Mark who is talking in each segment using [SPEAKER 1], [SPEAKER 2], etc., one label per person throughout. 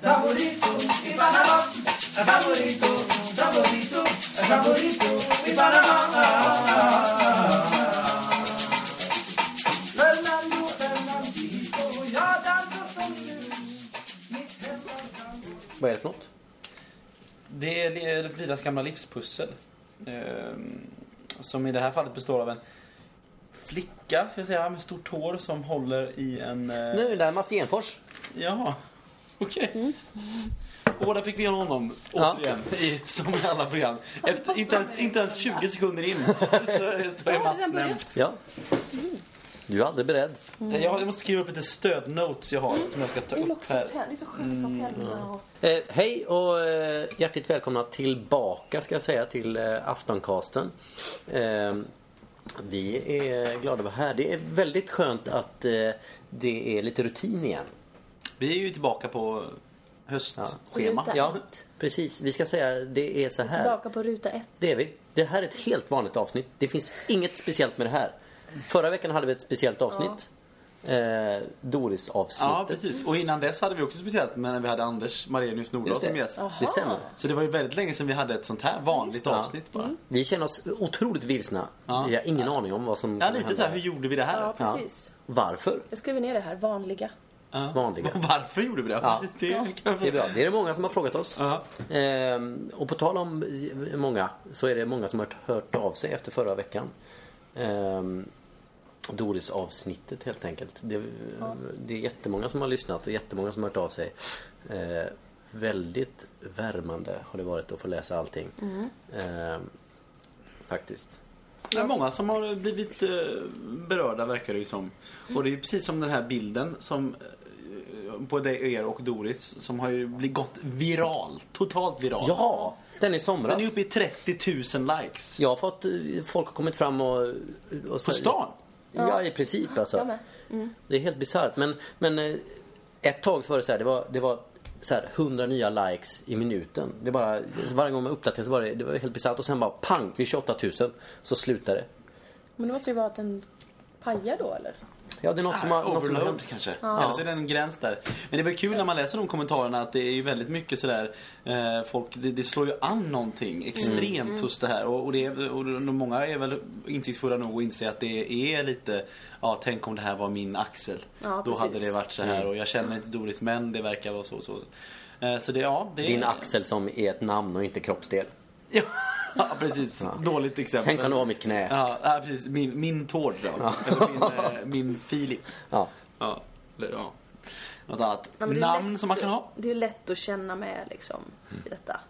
[SPEAKER 1] Saborito y Panamá, saborito, saborito, saborito y Panamá.
[SPEAKER 2] Vad är det för något?
[SPEAKER 3] Det är- det är Fridas gamla livspussel. Eh, som i det här fallet består av en flicka, ska jag säga, med stort hår som håller i en... Eh,
[SPEAKER 2] Nu är det här Mats Genfors.
[SPEAKER 3] Jaha, okej. Och där fick vi igenom honom
[SPEAKER 2] Ja.
[SPEAKER 3] återigen, i, som i alla program. Efter, inte, ens, inte ens 20 sekunder in så, så, så är
[SPEAKER 4] Har
[SPEAKER 3] Mats
[SPEAKER 4] den
[SPEAKER 3] nämnd.
[SPEAKER 4] börjat?
[SPEAKER 2] Ja. Du är aldrig beredd.
[SPEAKER 3] Eh, Jag, jag måste skriva upp lite stödnotes jag har som jag ska ta
[SPEAKER 4] Det är
[SPEAKER 3] upp
[SPEAKER 4] också
[SPEAKER 3] här.
[SPEAKER 4] pär- det är så skönt att ha pärlorna och...
[SPEAKER 2] Eh, hej och eh, hjärtligt välkomna tillbaka ska jag säga till eh, Aftoncasten. Eh, vi är glada att vara här. Det är väldigt skönt att eh, det är lite rutin igen.
[SPEAKER 3] Vi är ju tillbaka på höstschema.
[SPEAKER 4] Ruta.
[SPEAKER 2] Ja, precis. Vi ska säga det är så här.
[SPEAKER 4] Tillbaka på ruta ett.
[SPEAKER 2] Det är vi. Det här är ett helt vanligt avsnitt. Det finns inget speciellt med det här. Förra veckan hade vi ett speciellt avsnitt. Eh, Doris-avsnittet.
[SPEAKER 3] Ja, precis. Och innan dess hade vi också speciellt men vi hade Anders Marenius Nordahl
[SPEAKER 2] Just
[SPEAKER 3] som
[SPEAKER 2] det.
[SPEAKER 3] gäst.
[SPEAKER 2] det stämmer.
[SPEAKER 3] Så det var ju väldigt länge sedan vi hade ett sånt här vanligt
[SPEAKER 2] det. Mm.
[SPEAKER 3] avsnitt bara.
[SPEAKER 2] Vi känner oss otroligt vilsna.
[SPEAKER 3] Ja.
[SPEAKER 2] Vi har ingen aning om vad som
[SPEAKER 3] Ja,
[SPEAKER 2] kommer
[SPEAKER 3] lite
[SPEAKER 2] hända.
[SPEAKER 3] så här, hur gjorde vi det här?
[SPEAKER 4] Ja, precis.
[SPEAKER 2] Varför?
[SPEAKER 4] Jag skriver ner det här. Vanliga.
[SPEAKER 3] Ja.
[SPEAKER 2] Vanliga.
[SPEAKER 3] Varför gjorde vi det?
[SPEAKER 2] Ja.
[SPEAKER 3] Precis, det kan jag
[SPEAKER 2] Det är bra. Det är det många som har frågat oss.
[SPEAKER 3] Ja.
[SPEAKER 2] Ehm, och på tal om många så är det många som har hört- hört av sig efter förra veckan. Ehm, Doris-avsnittet helt enkelt. Det, det är jättemånga som har lyssnat och jättemånga som har hört av sig. Eh, väldigt värmande har det varit att få läsa allting. Ehm, faktiskt.
[SPEAKER 3] Det är många som har blivit eh, berörda verkar det ju som. Och det är ju precis som den här bilden som eh, på dig, er och Doris som har ju blivit gått viral. Totalt viral.
[SPEAKER 2] Ja! Den är i somras.
[SPEAKER 3] Den är uppe i 30 000 likes.
[SPEAKER 2] Jag har fått, eh, folk har kommit fram och... och
[SPEAKER 3] På stan.
[SPEAKER 2] Ja, i princip
[SPEAKER 4] Jag
[SPEAKER 2] alltså.
[SPEAKER 4] med.
[SPEAKER 2] Det är helt bisarrt. Men, men eh, ett tag så var det så här, det var, det var så här, 100 nya likes i minuten. Det bara, varje gång man uppdaterade så var det, det var helt bisarrt. Och sen bara pang, vid 28 000 så slutade det.
[SPEAKER 4] Men det måste ju vara att den pajar då, eller?
[SPEAKER 2] Ja, det är något som har, något som har hänt.
[SPEAKER 3] Ah, kanske. Eller så är det en gräns där. Men det var kul när man läser de kommentarerna att det är ju väldigt mycket sådär eh, folk, det, det slår ju an någonting extremt
[SPEAKER 2] Mm.
[SPEAKER 3] hos det här. Och, och, det, är- och de- många är väl insiktsfulla nog att inse att det är lite, ja tänk om det här var min axel.
[SPEAKER 4] Ja,
[SPEAKER 3] Då hade
[SPEAKER 4] precis.
[SPEAKER 3] det varit så här och jag känner inte Doris men det verkar vara så och så. Eh, Så det, ja, det
[SPEAKER 2] Din axel som är ett namn och inte kroppsdel.
[SPEAKER 3] Ja, precis. Dåligt exempel.
[SPEAKER 2] Tänk om det var mitt knä.
[SPEAKER 3] Ja, ja, precis. Min, min tår då. Eller min, eh, min Filip.
[SPEAKER 2] Ja.
[SPEAKER 3] Ja, eller ja. Något annat
[SPEAKER 4] Ja, men det är
[SPEAKER 3] namn
[SPEAKER 4] lätt-
[SPEAKER 3] som man kan ha.
[SPEAKER 4] Det är lätt att känna med liksom, i detta.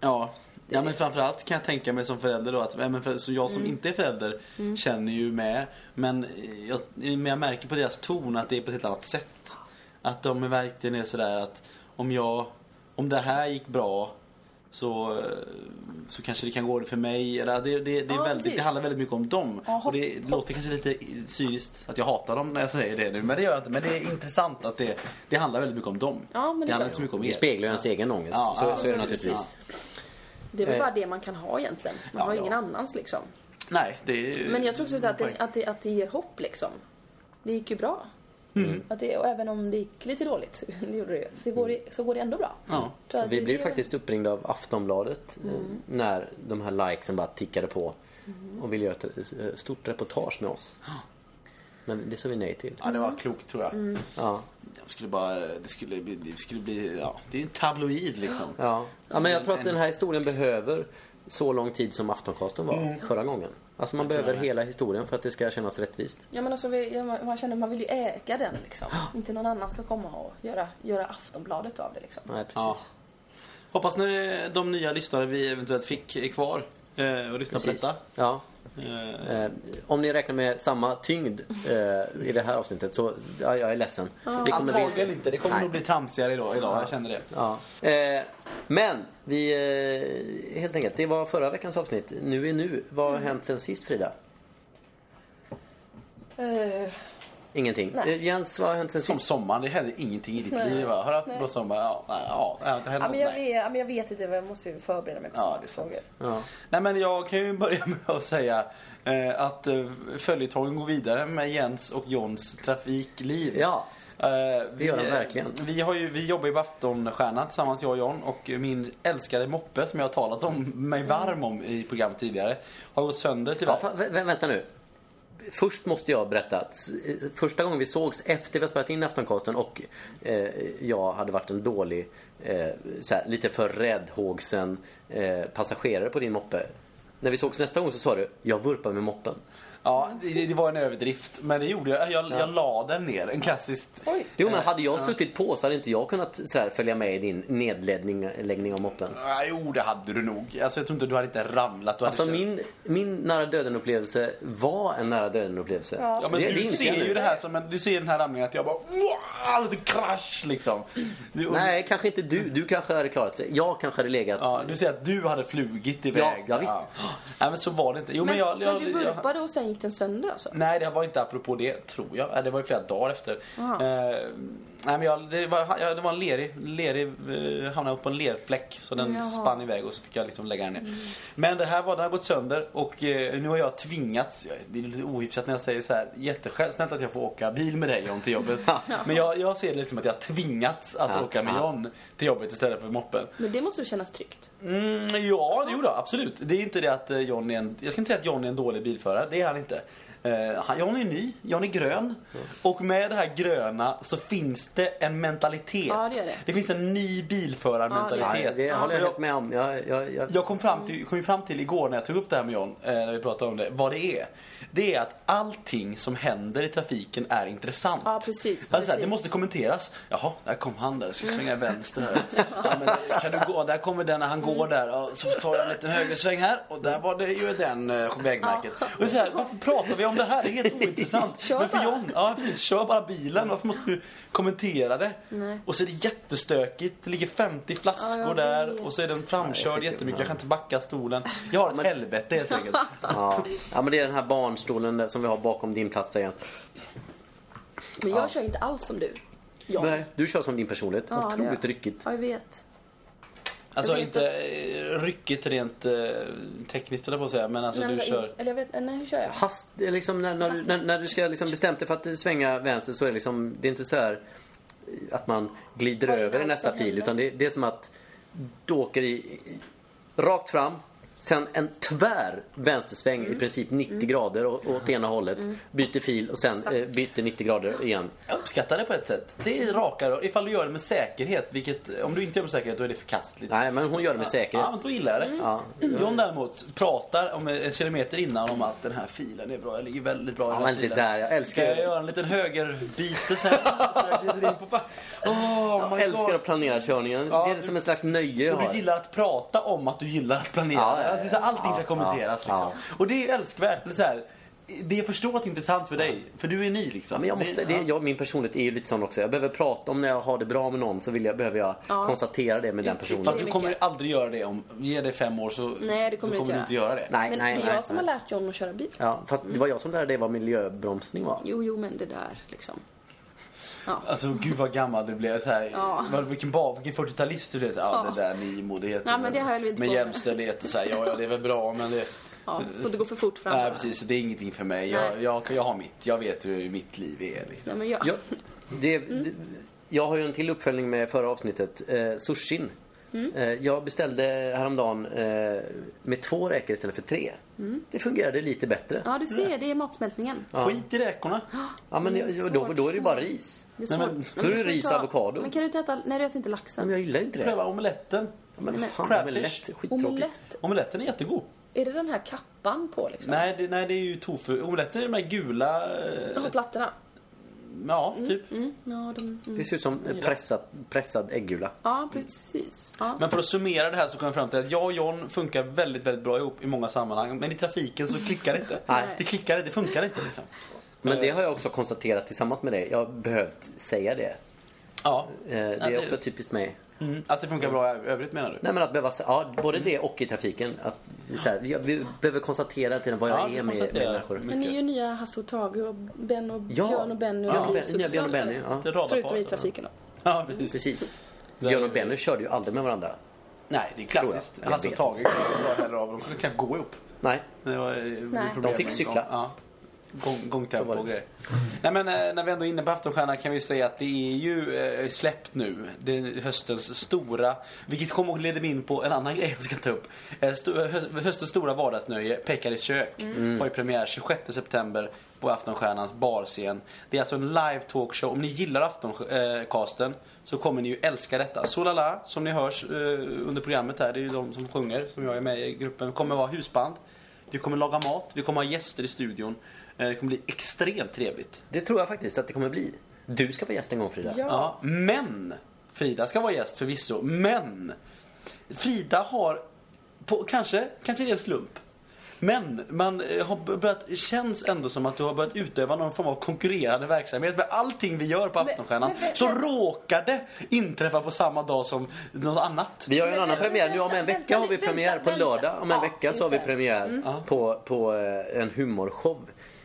[SPEAKER 3] Ja. ja, men framförallt kan jag tänka mig som förälder då att ja, men för, så jag
[SPEAKER 4] Mm.
[SPEAKER 3] som inte är förälder känner ju med. Men eh, jag, men jag märker på deras ton att det är på ett helt annat sätt. Att de är verkligen är sådär att om jag, om det här gick bra så, eh, så kanske det kan gå för mig. Eller, det, det, det, är
[SPEAKER 4] Ja,
[SPEAKER 3] väldigt, det
[SPEAKER 4] precis.
[SPEAKER 3] handlar väldigt mycket om dem.
[SPEAKER 4] Ja, hopp-
[SPEAKER 3] och det låter kanske lite cyniskt att jag hatar dem när jag säger det nu. Men det gör jag inte. Men det är intressant att det, det handlar väldigt mycket om dem.
[SPEAKER 4] Ja, men det är
[SPEAKER 3] handlar
[SPEAKER 4] klart.
[SPEAKER 3] inte så mycket om
[SPEAKER 2] Det
[SPEAKER 3] er.
[SPEAKER 2] speglar ju ens egen ångest.
[SPEAKER 3] Ja,
[SPEAKER 2] så,
[SPEAKER 3] ja,
[SPEAKER 2] så är det
[SPEAKER 3] precis.
[SPEAKER 2] naturligtvis.
[SPEAKER 4] Det är väl
[SPEAKER 2] Eh.
[SPEAKER 4] bara det man kan ha egentligen. Man
[SPEAKER 3] Ja,
[SPEAKER 4] har
[SPEAKER 3] ja. Mm.
[SPEAKER 4] ingen annans liksom.
[SPEAKER 3] Nej, det är
[SPEAKER 4] Men jag tror också så att,
[SPEAKER 3] poäng.
[SPEAKER 4] det, att, det, att det ger hopp liksom. Det gick ju bra. Att det, och även om det gick lite dåligt, det gjorde det ju, så går det, så går det ändå bra.
[SPEAKER 3] Ja.
[SPEAKER 4] Tror jag att
[SPEAKER 2] Vi
[SPEAKER 4] det-
[SPEAKER 2] blev
[SPEAKER 4] det-
[SPEAKER 2] faktiskt uppringda av Aftonbladet eh, när de här likesen bara tickade på och ville göra ett eh, stort reportage med oss. Men det sa vi nej till.
[SPEAKER 3] Ja, det
[SPEAKER 4] Mm.
[SPEAKER 3] var klokt tror jag.
[SPEAKER 2] Ja.
[SPEAKER 3] Jag skulle bara, det skulle bli, det skulle bli, ja, det är ju en tabloid liksom.
[SPEAKER 2] Ja. ja, men jag tror att den här historien behöver så lång tid som Aftoncasten var förra gången. Alltså man behöver hela historien för att det ska kännas rättvist.
[SPEAKER 4] Ja men alltså, vi, ja, man man känner man vill ju äga den liksom. Inte någon annan ska komma och göra, göra Aftonbladet av det liksom.
[SPEAKER 2] Nej, precis.
[SPEAKER 3] Ja. Hoppas nu de nya lyssnare vi eventuellt fick är kvar eh, och lyssnar
[SPEAKER 2] Precis.
[SPEAKER 3] på detta.
[SPEAKER 2] Ja.
[SPEAKER 3] Eh,
[SPEAKER 2] Eh, om ni räknar med samma tyngd eh, i det här avsnittet så ja, jag är ledsen. Det kommer bli-
[SPEAKER 3] Antagligen inte, det kommer
[SPEAKER 2] Nej.
[SPEAKER 3] nog bli tramsigare idag, idag jag känner det.
[SPEAKER 2] Ja. Eh, men vi, eh, helt enkelt, det var förra veckans avsnitt. Nu är nu. Vad har hänt sen sist Frida?
[SPEAKER 4] Eh,
[SPEAKER 2] Ingenting.
[SPEAKER 4] Nej.
[SPEAKER 2] Eh, Jens, vad har hänt sen
[SPEAKER 3] Som
[SPEAKER 2] sist?
[SPEAKER 3] sommaren, det hände ingenting i ditt liv va? Har du haft en bra sommar? Ja, nej, ja, det hände
[SPEAKER 4] Ja,
[SPEAKER 3] något.
[SPEAKER 4] men jag,
[SPEAKER 3] Nej.
[SPEAKER 4] vet, ja, men jag vet inte, jag måste ju förbereda mig på
[SPEAKER 3] Ja,
[SPEAKER 4] sådana
[SPEAKER 3] det är sant.
[SPEAKER 4] frågor.
[SPEAKER 2] Ja.
[SPEAKER 3] Nej men jag kan ju börja med att säga eh, att eh, följetongen går vidare med Jens och Johns trafikliv.
[SPEAKER 2] Ja.
[SPEAKER 3] Eh, vi,
[SPEAKER 2] gör den verkligen.
[SPEAKER 3] Vi, har ju, vi jobbar ju på Aftonstjärnan tillsammans, jag och John. Och min älskade moppe som jag har talat om mig varm om i program tidigare har gått sönder tyvärr.
[SPEAKER 2] Mm. Ja, fa- vä- vä- vänta nu. Först måste jag berätta att s- eh, första gången vi sågs efter vi har spelat in Aftoncasten och eh, jag hade varit en dålig, eh, så här, lite för räddhågsen eh, passagerare på din moppe. När vi sågs nästa gång så sa du, jag vurpar med moppen.
[SPEAKER 3] Ja, det, det var en överdrift. Men det gjorde jag. Jag, jag la den ner. En klassisk...
[SPEAKER 4] Oj.
[SPEAKER 2] Jo men hade jag suttit på så hade inte jag kunnat så här, följa med i din nedläggning läggning av moppen.
[SPEAKER 3] Ah, jo, det hade du nog. Alltså, jag tror inte du hade inte ramlat. Du hade
[SPEAKER 2] Alltså
[SPEAKER 3] känt-
[SPEAKER 2] min, min nära döden-upplevelse var en nära döden-upplevelse.
[SPEAKER 4] Ja.
[SPEAKER 3] Ja, men
[SPEAKER 2] Det-
[SPEAKER 3] du
[SPEAKER 2] det inser jag
[SPEAKER 3] ser
[SPEAKER 2] nu.
[SPEAKER 3] ju det här som en, du ser den här ramlingen att jag bara wow, lite krasch liksom. Du,
[SPEAKER 2] Nej, kanske inte du. Du kanske hade klarat det. Jag kanske hade legat...
[SPEAKER 3] Ja, du ser att du hade flugit iväg.
[SPEAKER 2] Ja, ja, visst.
[SPEAKER 3] Nej, men så var det inte. Jo, men,
[SPEAKER 4] Men,
[SPEAKER 3] jag, jag,
[SPEAKER 4] men du
[SPEAKER 3] jag,
[SPEAKER 4] vurpade och sen gick den sönder alltså?
[SPEAKER 3] Nej, det var inte apropå det, tror jag. Eh, Det var ju flera dagar efter.
[SPEAKER 4] Aha.
[SPEAKER 3] Eh, nej, men jag, det, var, jag, det var en lerig, lerig eh, hamnade upp på en lerfläck så den
[SPEAKER 4] Jaha. Mm.
[SPEAKER 3] spann iväg och så fick jag liksom lägga den ner. Men det här var, den har gått sönder och eh, nu har jag tvingats, jag- det är lite ohyfsat när jag säger så här, jättesnällt att jag får åka bil med dig John till jobbet. men jag, jag ser det lite som att jag har tvingats att
[SPEAKER 2] Ja.
[SPEAKER 3] åka med
[SPEAKER 2] Ja.
[SPEAKER 3] John till jobbet istället för moppen.
[SPEAKER 4] Men det måste ju kännas tryggt.
[SPEAKER 3] Mm, ja, det gjorde jag. Absolut. Det är inte det att eh, John är en, jag ska inte säga att John är en dålig bilförare. Det är han inte. Eh, han, John är ny, John är grön. Och med det här gröna så finns det en mentalitet.
[SPEAKER 4] Ja, det gör det.
[SPEAKER 3] finns en ny bilförarmentalitet.
[SPEAKER 2] Nej, det håller jag
[SPEAKER 3] Och
[SPEAKER 2] helt med om. Jag, jag, jag,
[SPEAKER 3] jag kom fram, till, kom ju fram till igår när jag tog upp det här med John, eh, när vi pratade om det, vad det är. Det är att allting som händer i trafiken är intressant.
[SPEAKER 4] Ja, precis.
[SPEAKER 3] Alltså, så här,
[SPEAKER 4] precis. Mm.
[SPEAKER 3] det måste kommenteras. Jaha, där kom han där. Jag ska svänga vänster här. Ja, men, eh, kan du gå? Där kommer den när han går
[SPEAKER 4] Mm.
[SPEAKER 3] där. Ja, så tar jag en liten högersväng här. Och där var det ju den eh, vägmärket. Och så här, varför pratar vi om det här? Det är helt ointressant.
[SPEAKER 4] Kör
[SPEAKER 3] men för
[SPEAKER 4] bara.
[SPEAKER 3] John, ja, precis, kör bara bilen. Varför måste du kommentera det?
[SPEAKER 4] Nej.
[SPEAKER 3] Och så är det jättestökigt. Det ligger 50
[SPEAKER 4] Ja,
[SPEAKER 3] flaskor
[SPEAKER 4] jag vet.
[SPEAKER 3] där. Och så är den framkörd jättemycket. Jag kan inte backa stolen. Jag har ett helvete helt enkelt.
[SPEAKER 2] ja. ja, men det är den här barnstolen där som vi har bakom din plats där Jens.
[SPEAKER 4] Men jag kör inte alls som du. Jag.
[SPEAKER 2] Nej. Du kör som din personlighet.
[SPEAKER 4] Ja, det
[SPEAKER 2] Otroligt
[SPEAKER 4] gör jag.
[SPEAKER 2] ryckigt.
[SPEAKER 4] Ja, jag vet.
[SPEAKER 3] Alltså
[SPEAKER 4] Jag vet
[SPEAKER 3] inte eh, ryckigt rent eh, tekniskt eller på att säga. Men alltså
[SPEAKER 4] Nej, men
[SPEAKER 3] du
[SPEAKER 4] så här,
[SPEAKER 3] kör.
[SPEAKER 4] Eller jag vet, nej, hur kör jag?
[SPEAKER 2] Hast, det är liksom när, när, du- när, när du ska liksom bestämt dig för att svänga vänster så är det, liksom, det är inte så här eh, att man glider
[SPEAKER 4] Tar in
[SPEAKER 2] över i
[SPEAKER 4] allt
[SPEAKER 2] nästa
[SPEAKER 4] som
[SPEAKER 2] fil.
[SPEAKER 4] händer.
[SPEAKER 2] Utan det, det är som att du åker i, i, rakt fram, sen en tvär vänstersväng
[SPEAKER 4] Mm.
[SPEAKER 2] i princip 90 grader å- åt ena hållet. Byter fil och sen eh, byter 90 grader igen.
[SPEAKER 3] Jag uppskattar det på ett sätt. Det är raka rör. Ifall du gör det med säkerhet, vilket om du inte gör det med säkerhet då är det förkastligt.
[SPEAKER 2] Nej, men hon gör det med säkerhet.
[SPEAKER 3] Ja, men då gillar jag det.
[SPEAKER 4] Mm.
[SPEAKER 2] Ja.
[SPEAKER 3] John däremot pratar om en kilometer innan om att den här filen är bra. Jag ligger väldigt bra i den
[SPEAKER 2] Ja,
[SPEAKER 3] här
[SPEAKER 2] men det
[SPEAKER 3] filen.
[SPEAKER 2] där, jag älskar
[SPEAKER 3] Ska jag
[SPEAKER 2] det.
[SPEAKER 3] göra en liten högerbite sen? så jag glider in på... ba- Oh, my
[SPEAKER 2] Jag älskar
[SPEAKER 3] God.
[SPEAKER 2] att planera körningen.
[SPEAKER 3] Ja,
[SPEAKER 2] det är som en slags nöje jag
[SPEAKER 3] Och
[SPEAKER 2] har.
[SPEAKER 3] du gillar att prata om att du gillar att planera.
[SPEAKER 2] Ja, ja, ja.
[SPEAKER 3] alltså, så här, allting ska
[SPEAKER 2] Ja,
[SPEAKER 3] kommenteras.
[SPEAKER 2] ja,
[SPEAKER 3] liksom. Och det är ju älskvärt. Det är, så här, det är förstått intressant för dig, för du är ny. Liksom.
[SPEAKER 2] Men jag måste, det, jag, min personlighet är ju lite sån också. Jag behöver prata om när jag har det bra med någon så vill jag, behöver jag
[SPEAKER 4] Ja.
[SPEAKER 2] konstatera det med den personen.
[SPEAKER 3] Fast
[SPEAKER 4] Det är
[SPEAKER 3] du kommer
[SPEAKER 4] mycket.
[SPEAKER 3] aldrig göra det om, ge dig fem år så,
[SPEAKER 4] Nej, det kommer
[SPEAKER 3] så
[SPEAKER 4] du
[SPEAKER 3] kommer du
[SPEAKER 4] inte
[SPEAKER 3] inte göra det.
[SPEAKER 2] Nej,
[SPEAKER 4] Men
[SPEAKER 2] nej,
[SPEAKER 4] det är
[SPEAKER 2] nej,
[SPEAKER 4] jag som har
[SPEAKER 2] nej.
[SPEAKER 4] lärt John att köra bil.
[SPEAKER 2] Ja, fast det var jag som lärde dig vad miljöbromsning var.
[SPEAKER 4] Jo, jo, men det där liksom. Ja.
[SPEAKER 3] Alltså gud vad gammal du blev. Så här,
[SPEAKER 4] Ja.
[SPEAKER 3] vad- Vilken, ba- vilken 40-talist du blev. Så, här, ja, det där Nimo det heter.
[SPEAKER 4] Nej, men det har jag väl inte
[SPEAKER 3] Men
[SPEAKER 4] på.
[SPEAKER 3] jämställdhet och så här, ja, ja det är väl bra men det...
[SPEAKER 4] ja. Får inte gå för fort fram.
[SPEAKER 3] Nej
[SPEAKER 4] bara.
[SPEAKER 3] precis, det är ingenting för mig.
[SPEAKER 4] Nej.
[SPEAKER 3] Jag, jag, jag har mitt. Jag vet hur mitt liv är. Liksom.
[SPEAKER 4] Nej, men jag...
[SPEAKER 2] Jag, det, det, jag har ju en till uppföljning med förra avsnittet, eh, sushin. Eh, jag beställde häromdagen eh, med två räkor istället för tre. Det fungerade lite bättre.
[SPEAKER 4] Ja, du ser, det är matsmältningen.
[SPEAKER 3] Skit i räkorna.
[SPEAKER 2] Ja, men
[SPEAKER 4] det är
[SPEAKER 2] jag,
[SPEAKER 4] svårt
[SPEAKER 2] då, då är det ju bara
[SPEAKER 4] snö.
[SPEAKER 2] ris.
[SPEAKER 4] Det är
[SPEAKER 3] Nej,
[SPEAKER 4] svårt.
[SPEAKER 3] men-
[SPEAKER 2] då är
[SPEAKER 4] men
[SPEAKER 2] det
[SPEAKER 4] får du
[SPEAKER 2] ris och
[SPEAKER 4] ta-
[SPEAKER 2] avokado.
[SPEAKER 4] Men kan du inte äta... Nej, du äter inte
[SPEAKER 2] Ja,
[SPEAKER 4] laxen.
[SPEAKER 2] Men jag gillar inte det.
[SPEAKER 3] Pröva omeletten.
[SPEAKER 2] Ja, Men
[SPEAKER 4] Men-
[SPEAKER 2] fan, omelett.
[SPEAKER 3] Crabfish.
[SPEAKER 2] Skittråkigt.
[SPEAKER 4] Omelett.
[SPEAKER 3] Omeletten är jättegod.
[SPEAKER 4] Är det den här kappan på liksom?
[SPEAKER 3] Nej det, nej, det är ju tofu. Omeletten är de här gula... eh,
[SPEAKER 4] Ja, plattorna.
[SPEAKER 3] Ja, typ.
[SPEAKER 4] Mm. Ja, de... mm.
[SPEAKER 2] Det ser ut som pressad, pressad äggula.
[SPEAKER 4] ja, precis. Ja.
[SPEAKER 3] Men för att summera det här så kom jag fram till att jag och John funkar väldigt, väldigt bra ihop i många sammanhang. Men i trafiken så klickar det inte.
[SPEAKER 2] Nej.
[SPEAKER 3] Det klickar inte, det funkar inte liksom.
[SPEAKER 2] Men det har jag också konstaterat tillsammans med dig. Jag har behövt säga det.
[SPEAKER 3] Ja.
[SPEAKER 2] Eh, Det
[SPEAKER 3] Ja,
[SPEAKER 2] är också typiskt mig.
[SPEAKER 3] Mm. Att det funkar bra i övrigt menar du?
[SPEAKER 2] Nej men att behöva, ja, både
[SPEAKER 3] Mm.
[SPEAKER 2] det och i trafiken. Att, så här, jag vi behöver konstatera till vad jag
[SPEAKER 3] Ja, vi
[SPEAKER 2] är med, med
[SPEAKER 3] konstaterar.
[SPEAKER 2] människor.
[SPEAKER 5] Men ni är ju nya Hasse och Tage och Ben och
[SPEAKER 2] Ja.
[SPEAKER 5] Björn och Benny och
[SPEAKER 2] Björn och
[SPEAKER 5] Lisus
[SPEAKER 2] Benny, ja, Björn och Benny, ja.
[SPEAKER 3] Det är radarpar.
[SPEAKER 5] Förutom i trafiken då.
[SPEAKER 3] Ja, precis.
[SPEAKER 2] Precis.
[SPEAKER 3] Där
[SPEAKER 2] Björn
[SPEAKER 3] är
[SPEAKER 2] och
[SPEAKER 3] vi.
[SPEAKER 2] Benny körde ju aldrig med varandra.
[SPEAKER 3] Nej, det är klassiskt.
[SPEAKER 2] Tror jag.
[SPEAKER 3] Hasse och
[SPEAKER 2] Jag
[SPEAKER 3] Tage kan dra heller av. De kunde knappt gå ihop.
[SPEAKER 2] Nej.
[SPEAKER 3] Det var, eh, problem
[SPEAKER 2] De fick
[SPEAKER 3] med
[SPEAKER 2] cykla.
[SPEAKER 3] Gång, ja. Gång,
[SPEAKER 2] Så
[SPEAKER 3] gångtempo
[SPEAKER 2] var det.
[SPEAKER 3] och grejer. Nej men eh, när vi ändå är inne på Aftonstjärna kan vi säga att det är ju eh, släppt nu. Det är höstens stora, vilket kommer att leda mig in på en annan grej jag ska ta upp. Eh, sto- hö- Höstens stora vardagsnöje, Pekkaris kök, har ju premiär 26 september på Aftonstjärnans barscen. Det är alltså en live talkshow. Om ni gillar Aftoncasten så kommer ni ju älska detta. Solala, som ni hörs eh, under programmet här, det är ju de som sjunger, som jag är med i gruppen, kommer vara husband. Vi kommer laga mat, vi kommer ha gäster i studion. Eh, Det kommer bli extremt trevligt.
[SPEAKER 2] Det tror jag faktiskt att det kommer bli. Du ska vara gäst en gång Frida.
[SPEAKER 5] Ja.
[SPEAKER 3] Ja, men! Frida ska vara gäst förvisso, men! Frida har, på, kanske, kanske det är en slump. Men man eh, har börjat, känns ändå som att du har börjat utöva någon form av konkurrerande verksamhet med allting vi gör på Aftonstjärnan.
[SPEAKER 5] men-
[SPEAKER 3] Så råkar det inträffa på samma dag som något annat.
[SPEAKER 2] Vi har ju en
[SPEAKER 5] Men
[SPEAKER 2] annan
[SPEAKER 5] vänta,
[SPEAKER 2] premiär nu. Om en
[SPEAKER 5] vänta,
[SPEAKER 2] vecka har vi
[SPEAKER 5] vänta,
[SPEAKER 2] premiär. På
[SPEAKER 5] vänta.
[SPEAKER 2] lördag om en
[SPEAKER 5] Ja,
[SPEAKER 2] vecka
[SPEAKER 5] just
[SPEAKER 2] så har vi
[SPEAKER 5] det. Mm.
[SPEAKER 2] premiär på, på eh, en humorshow.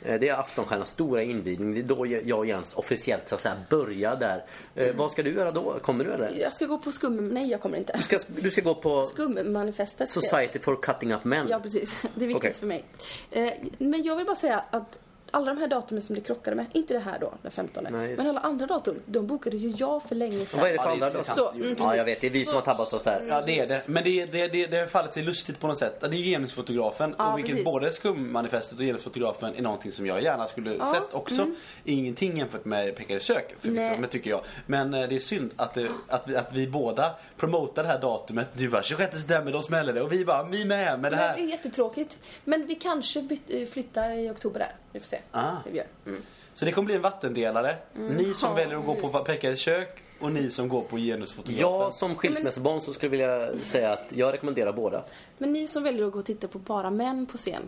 [SPEAKER 2] Eh, Det är Aftonstjärnans stora invigning. Det är då jag och Jens officiellt så att säga börjar där. Eh, Vad ska du göra då? Kommer du eller?
[SPEAKER 5] Jag ska gå på skum... Nej, jag kommer inte.
[SPEAKER 2] Du ska, du ska gå på
[SPEAKER 5] Skummanifestet. ska jag-
[SPEAKER 2] Society for Cutting Up Men.
[SPEAKER 5] Ja, precis. Det är viktigt
[SPEAKER 2] Okej.
[SPEAKER 5] för mig. Eh, men jag vill bara säga att alla de här datumen som det krockade med, inte det här då, den 15,
[SPEAKER 2] Nej, just
[SPEAKER 5] men alla andra datum, de bokade ju jag för länge sedan.
[SPEAKER 2] Vad är det för
[SPEAKER 3] Ja, det är
[SPEAKER 2] andra då?
[SPEAKER 3] sant.
[SPEAKER 5] Så, mm, precis.
[SPEAKER 2] Ja, jag vet. Det är vi som har tabbat oss där.
[SPEAKER 3] Ja, det är det. Men det, det, det, det har fallit sig lustigt på något sätt. Det är ju genusfotografen.
[SPEAKER 5] Ja,
[SPEAKER 3] och vilket
[SPEAKER 5] precis.
[SPEAKER 3] både skummanifestet och genusfotografen är någonting som jag gärna skulle sett också. Ingenting jämfört med Pekkares kök, för
[SPEAKER 5] mm. Nej.
[SPEAKER 3] men tycker jag. Men eh, det är synd att, det, att, vi, att vi båda promotar det här datumet. Du bara 26 september, då smäller det. Och vi bara, vi med med det
[SPEAKER 5] Men det är
[SPEAKER 3] här.
[SPEAKER 5] jättetråkigt. Men vi kanske byt, eh, flyttar i oktober där. Vi får se.
[SPEAKER 3] Ah.
[SPEAKER 5] Det vi gör.
[SPEAKER 3] Så det kommer bli en vattendelare. Ni som
[SPEAKER 5] Mm. Ja,
[SPEAKER 3] väljer att gå på Pekkares kök och ni som går på genusfotografen.
[SPEAKER 2] Jag som skilsmässobarn så skulle jag vilja säga att jag rekommenderar båda.
[SPEAKER 5] Men ni som väljer att gå och titta på bara män på scen,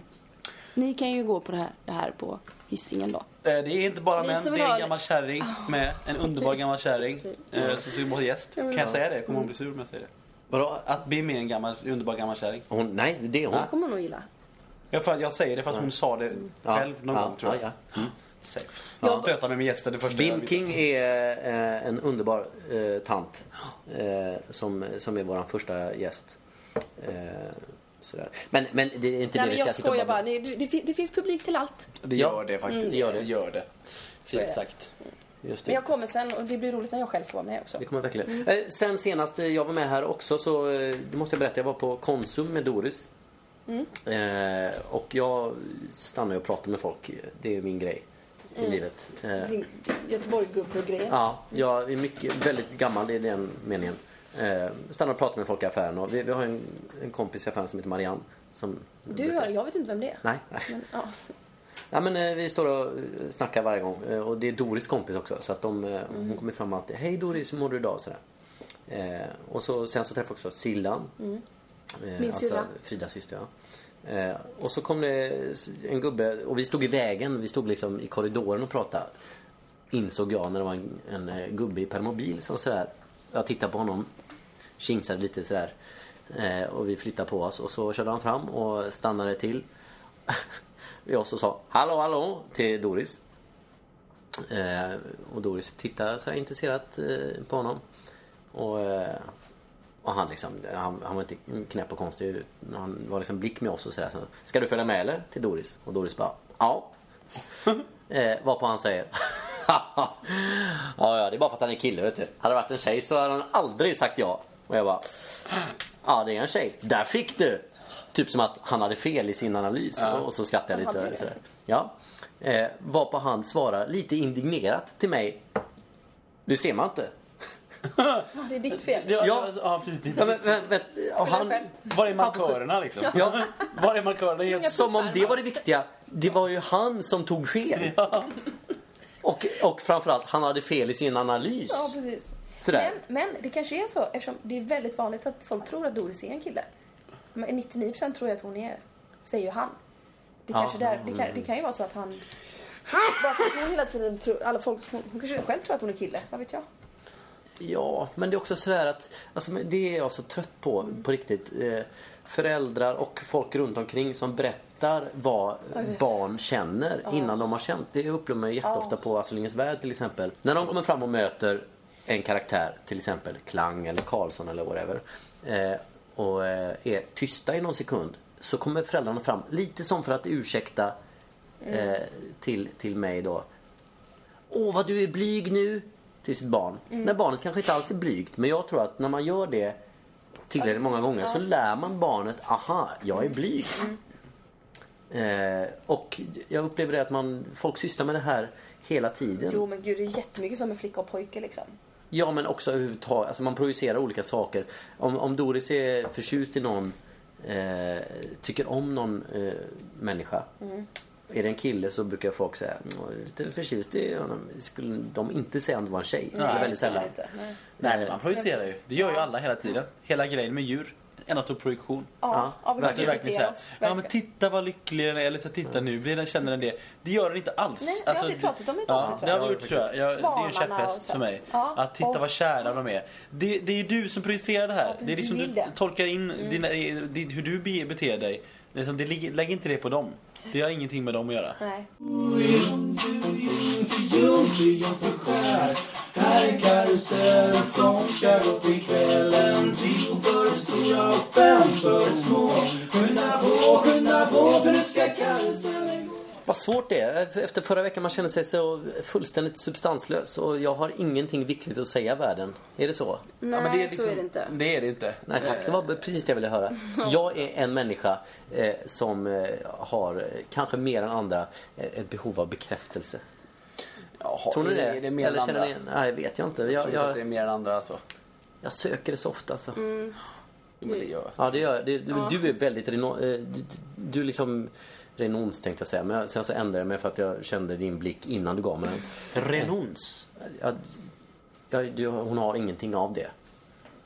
[SPEAKER 5] ni kan ju gå på det här, det här på Hisingen då.
[SPEAKER 2] Ah.
[SPEAKER 3] Eh, Det är inte bara
[SPEAKER 5] Ni
[SPEAKER 3] män,
[SPEAKER 5] som
[SPEAKER 3] det
[SPEAKER 5] vill
[SPEAKER 3] är
[SPEAKER 5] ha-
[SPEAKER 3] en gammal kärring med. En underbar gammal kärring eh, som ska vara gäst. Kan Ah, jag Mm. säga det? Kommer hon bli sur om jag säger det?
[SPEAKER 2] Vadå?
[SPEAKER 3] Att bli med en gammal, underbar gammal kärring.
[SPEAKER 2] Hon, nej, det är hon.
[SPEAKER 5] Det kommer hon nog gilla.
[SPEAKER 3] Jag, för, att jag säger det för att hon sa det själv någon
[SPEAKER 2] Ja,
[SPEAKER 3] gång tror jag.
[SPEAKER 2] ja,
[SPEAKER 3] Safe.
[SPEAKER 5] Ja.
[SPEAKER 3] Jag stötar mig med gästen det första jag
[SPEAKER 2] Bim
[SPEAKER 3] vet.
[SPEAKER 2] King är eh, en underbar eh, tant eh, som, som är vår första gäst. Eh, sådär. Men, men det är inte
[SPEAKER 5] Nej,
[SPEAKER 2] det
[SPEAKER 5] men
[SPEAKER 2] vi ska
[SPEAKER 5] jag
[SPEAKER 2] sitta och
[SPEAKER 5] skojar bara.
[SPEAKER 2] babbla.
[SPEAKER 5] Ni, det, fin- det finns publik till allt.
[SPEAKER 3] Det
[SPEAKER 2] Ja.
[SPEAKER 3] gör det faktiskt.
[SPEAKER 2] Mm, det
[SPEAKER 3] det
[SPEAKER 2] gör
[SPEAKER 3] gör
[SPEAKER 2] det.
[SPEAKER 3] det. Gör det. Fint sagt.
[SPEAKER 2] Just det.
[SPEAKER 5] Men jag Mm. kommer sen och det blir roligt när jag själv får vara med också.
[SPEAKER 2] Det kommer verkligen. Eh, sen senast eh, jag var med här också så eh, det måste jag berätta, jag var på Konsum med Doris.
[SPEAKER 5] Mm.
[SPEAKER 2] Eh, och jag stannar ju och pratar med folk. Det är ju min grej i
[SPEAKER 5] Mm.
[SPEAKER 2] livet. Eh,
[SPEAKER 5] Din Göteborg-gubbe-grejen.
[SPEAKER 2] Ja, jag är mycket, väldigt gammal i den meningen. Eh, stannar och pratar med folk i affären. Och vi, vi har en, en kompis i affären som heter Marianne. Som
[SPEAKER 5] Du hör, jag vet inte vem det är.
[SPEAKER 2] Nej, nej.
[SPEAKER 5] Men, ja.
[SPEAKER 2] Ja, men, eh, vi står och eh, snackar varje gång. Eh, och det är Doris kompis också. Så att de, eh,
[SPEAKER 5] Mm.
[SPEAKER 2] Hon kommer fram alltid. Hej Doris, hur mår du idag? Sådär. Eh, och så, sen så träffade jag också Sillan. Eh,
[SPEAKER 5] Mm. Min syrra.
[SPEAKER 2] Fridas syster, ja. Eh, och så kom det en gubbe och vi stod i vägen. Vi stod liksom i korridoren och pratade. Insåg jag när det var en, en eh, gubbe i permobil som sådär. Jag tittade på honom. Kingsade lite sådär. Eh, och vi flyttade på oss och så körde han fram och stannade till. jag så sa hallå hallå till Doris. Eh, och Doris tittade så här intresserat eh, på honom. Och, eh, och han, liksom, han, han var inte knäpp och konstig. utan Han var liksom blick med oss och sådär. Så, Ska du följa med eller? Till Doris. Och Doris bara ja. eh, varpå han säger ja, ja, det är bara för att han är kille vet du. Hade det varit en tjej så hade han aldrig sagt ja. Och jag bara ja, det är en tjej. Där fick du! Typ som att han hade fel i sin analys. Och, och så skrattade jag
[SPEAKER 5] Han
[SPEAKER 2] lite.
[SPEAKER 5] hade
[SPEAKER 2] Och
[SPEAKER 5] det.
[SPEAKER 2] sådär. Ja. Eh, varpå han svarar lite indignerat till mig. Du ser man inte.
[SPEAKER 5] Det är ditt fel.
[SPEAKER 3] Ja,
[SPEAKER 2] Ja.
[SPEAKER 3] ja. ja precis.
[SPEAKER 2] Ja, men, men, men, och han,
[SPEAKER 5] själv.
[SPEAKER 3] Var är markörerna liksom?
[SPEAKER 2] ja,
[SPEAKER 3] Var är markörerna? Jag-
[SPEAKER 2] som om det var det viktiga. Det var ju han som tog fel. Och, och framförallt, han hade fel i sin analys.
[SPEAKER 5] Ja, precis.
[SPEAKER 2] Sådär.
[SPEAKER 5] Men, men det kanske är så eftersom det är väldigt vanligt att folk tror att Doris är en kille. Men 99% tror jag att hon är, säger ju han. Det, kanske där, det, kan, det kan ju vara så att han... Bara för att hon hela tiden tror, alla folk, hon, hon kanske själv tror att hon är kille, vad vet jag?
[SPEAKER 2] Ja, men det är också sådär att alltså, men det är jag så trött på, på riktigt. Eh, föräldrar och folk runt omkring som berättar vad
[SPEAKER 4] Jag vet.
[SPEAKER 2] barn känner innan de har känt. Det upplever man ju jätteofta på Astrid Lindgrens Värld till exempel. När de kommer fram och möter en karaktär, till exempel Klang eller Karlsson eller whatever, eh, och eh, är tysta i någon sekund så kommer föräldrarna fram, lite som för att ursäkta
[SPEAKER 4] Mm.
[SPEAKER 2] eh, till, till mig då. Åh, vad du är blyg nu! Till sitt barn. När barnet kanske inte alls är blygt, men jag tror att när man gör det tillräckligt många gånger så lär man barnet, aha, jag är blyg. Eh, och jag upplever det att man, folk sysslar med det här hela tiden.
[SPEAKER 4] Jo men gud, det är jättemycket som en flicka och pojke liksom.
[SPEAKER 2] Ja, men också överhuvudtaget. Alltså man projicerar olika saker. Om, om Doris är förtjust i någon, eh, tycker om någon eh, människa.
[SPEAKER 4] Mm.
[SPEAKER 2] Är det en kille så brukar folk säga, "Nå, jag är lite förtjust i honom. Skulle de inte säga om det var en tjej? Eller väldigt sällan.
[SPEAKER 4] Inte. Nej.
[SPEAKER 3] Nej, men man projicerar ju. Det gör ju alla hela tiden. Hela grejen med djur. En stor projektion.
[SPEAKER 4] Ja, ja, vi verkligen,
[SPEAKER 3] Verkligen, verkligen så här,
[SPEAKER 4] oss.
[SPEAKER 3] Ja men
[SPEAKER 4] Verkligen.
[SPEAKER 3] titta vad lycklig den är. Eller så här, titta nu blir den, känner den det. Det gör den inte alls.
[SPEAKER 4] Nej, det har vi pratat om i ett
[SPEAKER 3] ja,
[SPEAKER 4] avsnitt,
[SPEAKER 3] Det
[SPEAKER 4] tror
[SPEAKER 3] har vi gjort tror jag. jag det är ju en
[SPEAKER 4] Svanarna och
[SPEAKER 3] käpphäst
[SPEAKER 4] så.
[SPEAKER 3] för mig.
[SPEAKER 4] Ja,
[SPEAKER 3] Att titta
[SPEAKER 4] och-
[SPEAKER 3] vad kära de är. Det, det är ju du som projicerar det här.
[SPEAKER 4] Ja, precis,
[SPEAKER 3] det är liksom
[SPEAKER 4] vi
[SPEAKER 3] du
[SPEAKER 4] vill det. Mm.
[SPEAKER 3] tolkar in dina, din, hur du be- beter dig. Det är som, det, ligger- lägg inte det på dem. Det har ingenting med dem att göra.
[SPEAKER 4] Nej.
[SPEAKER 1] Här är karusell som ska gå till kvällen Tio för stora och fem för små Skynda på, skynda på för nu ska karusellen gå
[SPEAKER 2] Vad svårt det är. Efter förra veckan man känner sig så fullständigt substanslös och jag har ingenting viktigt att säga i världen. Är det så?
[SPEAKER 5] Nej,
[SPEAKER 3] Ja, men
[SPEAKER 5] så är det inte.
[SPEAKER 3] Det liksom- är det inte.
[SPEAKER 2] Nej tack, det var
[SPEAKER 3] Eh.
[SPEAKER 2] precis det jag ville höra. Jag är en människa eh, som eh, har, eh, kanske mer än andra, eh, ett behov av bekräftelse.
[SPEAKER 3] Jaha,
[SPEAKER 2] Tror ni det?
[SPEAKER 3] Är det mer än
[SPEAKER 2] Eller känner
[SPEAKER 3] andra?
[SPEAKER 2] ni? Nej, det vet jag inte.
[SPEAKER 3] Jag tror
[SPEAKER 2] Jag,
[SPEAKER 3] inte att Mm. det är
[SPEAKER 2] jag,
[SPEAKER 3] mer än andra alltså.
[SPEAKER 2] jag söker det så ofta alltså.
[SPEAKER 3] Jo, men det gör jag.
[SPEAKER 2] Ja, det gör det, Du är väldigt reno, eh, du, du är liksom renons tänkte jag säga. Men jag, sen så ändrade jag mig för att jag kände din blick innan du gav mig den.
[SPEAKER 3] Renons.
[SPEAKER 2] Ja, ja, du, hon har ingenting av det.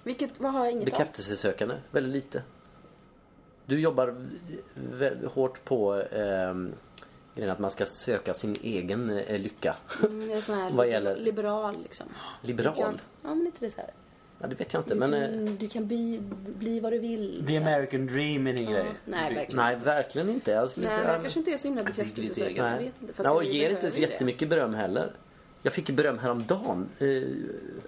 [SPEAKER 5] Vilket, vad har jag inget av?
[SPEAKER 2] Bekräftelsesökande, väldigt lite. Du jobbar vä- hårt på ehm, grejen att man ska söka sin egen eh, lycka.
[SPEAKER 5] Mm, jag är sån här
[SPEAKER 2] Vad
[SPEAKER 5] liber-
[SPEAKER 2] gäller-
[SPEAKER 5] liberal liksom. Ja,
[SPEAKER 2] Liberal?
[SPEAKER 5] ja men inte det så här.
[SPEAKER 2] Ja, det vet jag inte.
[SPEAKER 5] Du
[SPEAKER 2] Men, eh,
[SPEAKER 5] kan, du kan bli, bli vad du vill.
[SPEAKER 3] The American dream är din grej.
[SPEAKER 5] Nej,
[SPEAKER 3] Du-
[SPEAKER 5] verkligen.
[SPEAKER 2] nej, verkligen inte. Alltså,
[SPEAKER 5] Nej,
[SPEAKER 2] lite,
[SPEAKER 5] men jag
[SPEAKER 2] ja,
[SPEAKER 5] kanske inte är så himla bekräftelsesökande. Jag
[SPEAKER 2] Nej.
[SPEAKER 5] vet inte.
[SPEAKER 2] Ja, och
[SPEAKER 5] vi
[SPEAKER 2] ger inte
[SPEAKER 5] behöver
[SPEAKER 2] så
[SPEAKER 5] ju det.
[SPEAKER 2] jättemycket beröm heller. Jag fick ju beröm häromdagen eh,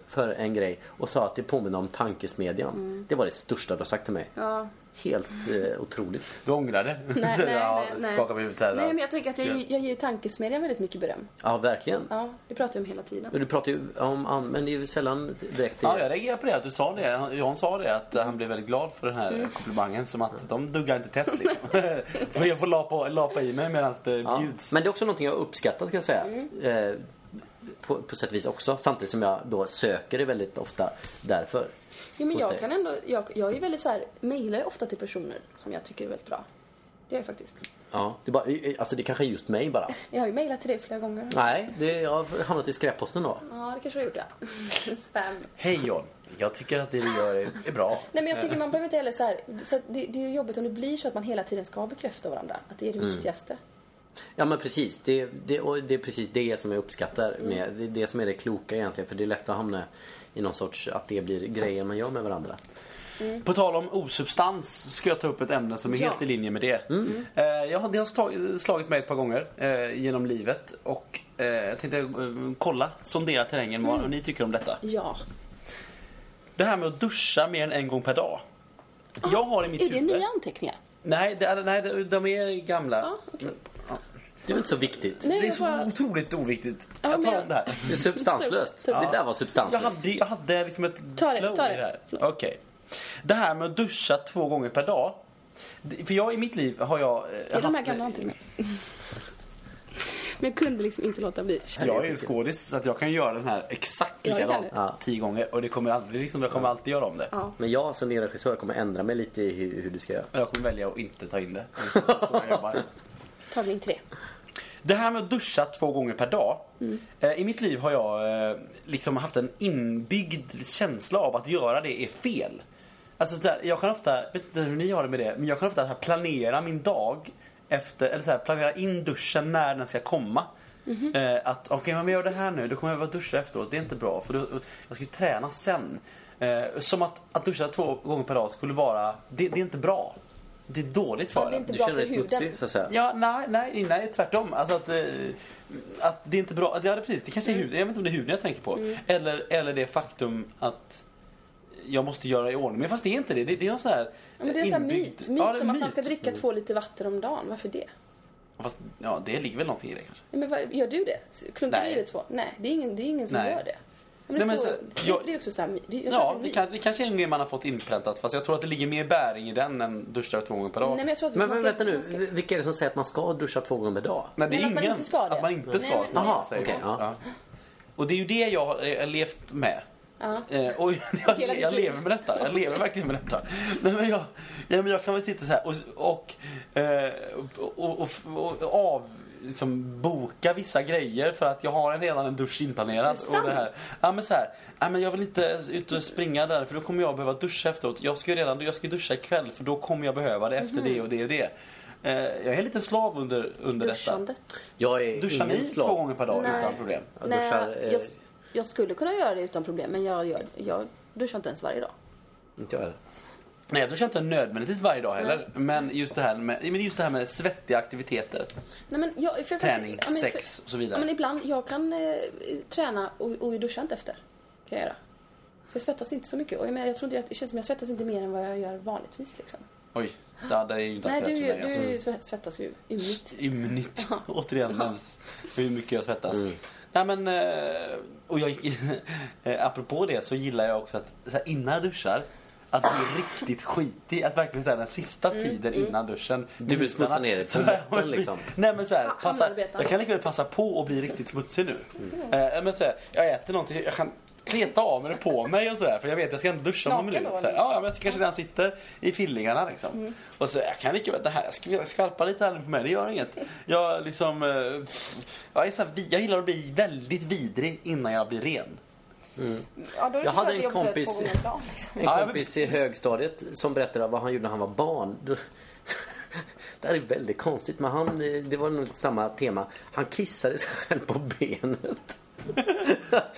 [SPEAKER 2] för en grej och sa att det påminner om tankesmedjan. Det var det största du har sagt till mig.
[SPEAKER 5] Mm. Ja.
[SPEAKER 2] Helt eh, otroligt.
[SPEAKER 3] Du ångrar det?
[SPEAKER 5] Nej, nej,
[SPEAKER 3] ja,
[SPEAKER 5] nej, nej.
[SPEAKER 3] Skakar på huvudet här.
[SPEAKER 5] Nej, men jag tänker att jag, jag ger ju tankesmedjan väldigt mycket beröm.
[SPEAKER 2] Ja, verkligen.
[SPEAKER 5] Ja, det pratar jag om hela tiden.
[SPEAKER 2] Men Du pratar ju om, an- men det är ju sällan direkt i
[SPEAKER 3] Ja, jag reagerar på det att du sa det. Han- Jan sa det att han blev väldigt glad för den här
[SPEAKER 5] Mm.
[SPEAKER 3] komplimangen. Som att de duggar inte tätt liksom. För jag får lapa, lapa i mig medan det
[SPEAKER 2] Ja.
[SPEAKER 3] bjuds.
[SPEAKER 2] Men det är också någonting jag har uppskattat kan jag säga. Eh, på, på sätt och vis också. Samtidigt som jag då söker det väldigt ofta därför.
[SPEAKER 5] Jo, men
[SPEAKER 2] hos
[SPEAKER 5] jag
[SPEAKER 2] dig.
[SPEAKER 5] kan ändå... Jag, jag är ju väldigt så här... Mejlar ju ofta till personer som jag tycker är väldigt bra. Det gör jag faktiskt.
[SPEAKER 2] Ja. Det, är bara, alltså det kanske är just mig bara.
[SPEAKER 5] Jag har ju mejlat till dig flera gånger.
[SPEAKER 2] Nej, det, jag har hamnat i skräpposten då.
[SPEAKER 5] Ja, det kanske jag gjorde. Spam.
[SPEAKER 3] Hej John, jag tycker att det du gör är, är bra.
[SPEAKER 5] Nej, men jag tycker man behöver inte heller så här... Så att det, det är ju jobbigt om det blir så att man hela tiden ska bekräfta varandra. Att det är det
[SPEAKER 2] Mm.
[SPEAKER 5] viktigaste.
[SPEAKER 2] Ja men precis. Det, det, och det är precis det som jag uppskattar. Med, det är det som är det kloka egentligen. För det är lätt att hamna i någon sorts, att det blir grejer man gör med varandra.
[SPEAKER 5] Mm.
[SPEAKER 3] På tal om osubstans så ska jag ta upp ett ämne som är helt i linje med det.
[SPEAKER 2] Mm.
[SPEAKER 3] Eh, jag, har- det har slag- slagit mig ett par gånger eh, genom livet. Och eh, jag tänkte eh, kolla, sondera terrängen vad ni tycker om detta.
[SPEAKER 5] Mm. Ja.
[SPEAKER 3] Det här med att duscha mer än en gång per dag. Jag har i mitt
[SPEAKER 5] Ah, Är det
[SPEAKER 3] huvud...
[SPEAKER 5] nya anteckningar?
[SPEAKER 3] Nej, det är, nej, de- de är gamla.
[SPEAKER 5] Ja, okej.
[SPEAKER 2] Det är väl inte så viktigt.
[SPEAKER 5] Nej,
[SPEAKER 3] Det är
[SPEAKER 5] jag
[SPEAKER 3] så
[SPEAKER 5] bara...
[SPEAKER 3] otroligt oviktigt. jag
[SPEAKER 5] Ja, men
[SPEAKER 3] tar
[SPEAKER 5] jag-
[SPEAKER 3] om det här.
[SPEAKER 2] Det är substanslöst.
[SPEAKER 5] Ja.
[SPEAKER 2] Det där var
[SPEAKER 3] Jag
[SPEAKER 2] substanslöst.
[SPEAKER 3] hade, jag hade liksom ett
[SPEAKER 5] Ta det,
[SPEAKER 3] flow
[SPEAKER 5] ta
[SPEAKER 3] i det här.
[SPEAKER 5] det.
[SPEAKER 3] Okej. Det här med att duscha två gånger per dag. Det- För jag i mitt liv har jag... eh,
[SPEAKER 5] Är de här
[SPEAKER 3] haft-
[SPEAKER 5] gamla anteckningarna? Men jag kunde liksom inte låta bli.
[SPEAKER 3] Så Jag är ju skådis så att jag kan göra den här exakt
[SPEAKER 5] Ja, det kan
[SPEAKER 3] likadant
[SPEAKER 5] du.
[SPEAKER 2] Ja.
[SPEAKER 3] tio gånger och det kommer jag aldrig, liksom, jag kommer alltid göra om det.
[SPEAKER 5] Ja.
[SPEAKER 2] Men jag som din regissör kommer ändra mig lite i hur, hur du ska göra.
[SPEAKER 3] Men jag kommer välja att inte ta in det. Det är så- så jag jobbar.
[SPEAKER 5] Tagning tre.
[SPEAKER 3] Det här med att duscha två gånger per dag. Eh, I mitt liv har jag eh, liksom haft en inbyggd känsla av att göra det är fel. Alltså där, jag kan ofta, vet inte hur ni har det med det, men jag kan ofta så här planera min dag efter, eller så här, planera in duschen när den ska komma.
[SPEAKER 5] Mhm.
[SPEAKER 3] Eh, att okej, men om jag gör det här nu, då kommer jag behöva duscha efteråt. Det är inte bra, för då, jag ska ju träna sen. Eh, som att, att duscha två gånger per dag skulle vara, det, det är inte bra. Det är dåligt för
[SPEAKER 5] Ja, det är
[SPEAKER 3] en.
[SPEAKER 5] inte
[SPEAKER 2] Du
[SPEAKER 5] bra
[SPEAKER 2] känner
[SPEAKER 5] för
[SPEAKER 2] dig
[SPEAKER 5] huden.
[SPEAKER 2] smutsig så att säga.
[SPEAKER 3] Ja, nej, nej, nej, tvärtom. Alltså att, eh, att det är inte bra. Ja, det är precis. Det kanske
[SPEAKER 5] Mm.
[SPEAKER 3] är huden. Jag vet inte om det är huden jag tänker på. Eller, eller det faktum att jag måste göra i ordning. Men fast det är inte det. Det, det är någon så här
[SPEAKER 5] Ja, Men det är en sån här
[SPEAKER 3] inbyggd-
[SPEAKER 5] myt. Myt
[SPEAKER 3] Ja, det är
[SPEAKER 5] som att man
[SPEAKER 3] myt.
[SPEAKER 5] ska dricka två liter vatten om dagen. Varför det?
[SPEAKER 3] Fast, ja, det ligger väl någonting i det kanske.
[SPEAKER 5] Ja, men vad, gör du det? Klunkar du
[SPEAKER 3] Nej.
[SPEAKER 5] i dig två? Nej, det är ingen, det är ingen som
[SPEAKER 3] Nej.
[SPEAKER 5] gör det. Men det,
[SPEAKER 3] Nej, men
[SPEAKER 5] står,
[SPEAKER 3] så-
[SPEAKER 5] det-
[SPEAKER 3] jag-
[SPEAKER 5] det är också så här, my- det, jag tror
[SPEAKER 3] Ja,
[SPEAKER 5] att
[SPEAKER 3] det,
[SPEAKER 5] det,
[SPEAKER 3] kan, det kanske är en grej man har fått inpräntat. Fast jag tror att det ligger mer bäring i den än duscha två gånger per dag.
[SPEAKER 5] Nej, men jag tror att
[SPEAKER 2] Men,
[SPEAKER 5] man
[SPEAKER 2] men vänta
[SPEAKER 5] ska-
[SPEAKER 2] nu,
[SPEAKER 5] man ska-
[SPEAKER 2] vilka är det som säger att man ska duscha två gånger per dag?
[SPEAKER 3] Nej, det är
[SPEAKER 5] Men att
[SPEAKER 3] ingen.
[SPEAKER 5] man inte ska det.
[SPEAKER 3] Att man inte ska.
[SPEAKER 5] Nej, men-
[SPEAKER 3] det
[SPEAKER 2] Aha,
[SPEAKER 3] säger
[SPEAKER 2] okej,
[SPEAKER 3] man.
[SPEAKER 2] ja.
[SPEAKER 3] Ja. Och det är ju det jag har eh, levt med.
[SPEAKER 5] Ja.
[SPEAKER 3] Eh, och jag,
[SPEAKER 5] Hela ditt
[SPEAKER 3] jag
[SPEAKER 5] liv.
[SPEAKER 3] lever med detta. Jag lever verkligen med detta. Nej, men jag, ja, men jag kan väl sitta så här och, och, eh, och, och, och, och av liksom, boka vissa grejer för att jag har en- redan en dusch inplanerad.
[SPEAKER 5] Det är
[SPEAKER 3] och det här. Ja, men så här, ja, men jag vill inte ut och springa där för då kommer jag behöva duscha efteråt. Jag ska ju redan jag ska duscha ikväll för då kommer jag behöva det
[SPEAKER 5] Mhm.
[SPEAKER 3] efter det och det och det. Eh, jag är lite slav under, under detta.
[SPEAKER 5] Duschandet.
[SPEAKER 2] Jag är
[SPEAKER 3] Duschar
[SPEAKER 2] ingen
[SPEAKER 3] ni
[SPEAKER 2] slav.
[SPEAKER 3] två gånger per dag
[SPEAKER 5] Nej.
[SPEAKER 3] utan problem?
[SPEAKER 2] Jag
[SPEAKER 5] Nej,
[SPEAKER 2] duschar, eh,
[SPEAKER 5] jag, jag skulle kunna göra det utan problem, men jag, gör, jag duschar inte ens varje dag.
[SPEAKER 2] Inte jag heller.
[SPEAKER 3] Nej, jag duschar inte nödvändigtvis varje dag heller. Men, just det här med, men just det här med svettiga aktiviteter.
[SPEAKER 5] Nej, men jag, för, för,
[SPEAKER 3] Träning,
[SPEAKER 5] ja, men för-
[SPEAKER 3] sex och så vidare.
[SPEAKER 5] Ja, men ibland, jag kan eh, träna och, och duscha inte efter. Kan jag göra. För jag svettas inte så mycket. Och jag, menar, jag tror inte, jag, det känns som jag svettas inte mer än vad jag gör vanligtvis. Liksom.
[SPEAKER 3] Oj, det, det är ju inte
[SPEAKER 5] Nej,
[SPEAKER 3] aktuellt
[SPEAKER 5] du,
[SPEAKER 3] för mig.
[SPEAKER 5] du svett- svettas ju ymnigt.
[SPEAKER 3] Alltså. Ymnigt. Återigen nämns hur mycket jag svettas.
[SPEAKER 2] Mm.
[SPEAKER 3] Nej, men, eh, och jag, eh, apropå det så gillar jag också att så här, innan jag duschar att bli riktigt skitig. Att verkligen så här, den sista tiden innan duschen.
[SPEAKER 2] Du vill smutsa ner dig på läppen, liksom.
[SPEAKER 3] Nej men så här,
[SPEAKER 5] Ja,
[SPEAKER 3] passa,
[SPEAKER 5] handarbetaren.
[SPEAKER 3] jag kan lika väl passa på att bli riktigt smutsig nu.
[SPEAKER 4] Mm.
[SPEAKER 3] Eh, men så här, jag äter någonting, jag kan kleta av mig det på mig och sådär för jag vet jag ska inte duscha om någon
[SPEAKER 4] Naken
[SPEAKER 3] minut.
[SPEAKER 4] då, liksom. Mm.
[SPEAKER 3] Så här, ja, men jag kanske den sitter i fillingarna liksom. Och så jag kan lika väl, det här, jag ska- jag skvalpar lite här nu på mig, det gör inget. Jag liksom, eh, pff, jag, är så här, vi- jag gillar att bli väldigt vidrig innan jag blir ren.
[SPEAKER 4] Ja, då är det
[SPEAKER 2] Jag
[SPEAKER 4] så
[SPEAKER 2] hade
[SPEAKER 4] att
[SPEAKER 2] en
[SPEAKER 4] det är jobbigt att göra
[SPEAKER 2] kompis-
[SPEAKER 4] två gånger om dagen, liksom.
[SPEAKER 2] En
[SPEAKER 3] Ja, men
[SPEAKER 2] kompis i högstadiet som berättade vad han gjorde när han var barn. Då- Det här är väldigt konstigt men han, eh, det var nog lite samma tema. Han kissade sig själv på benet.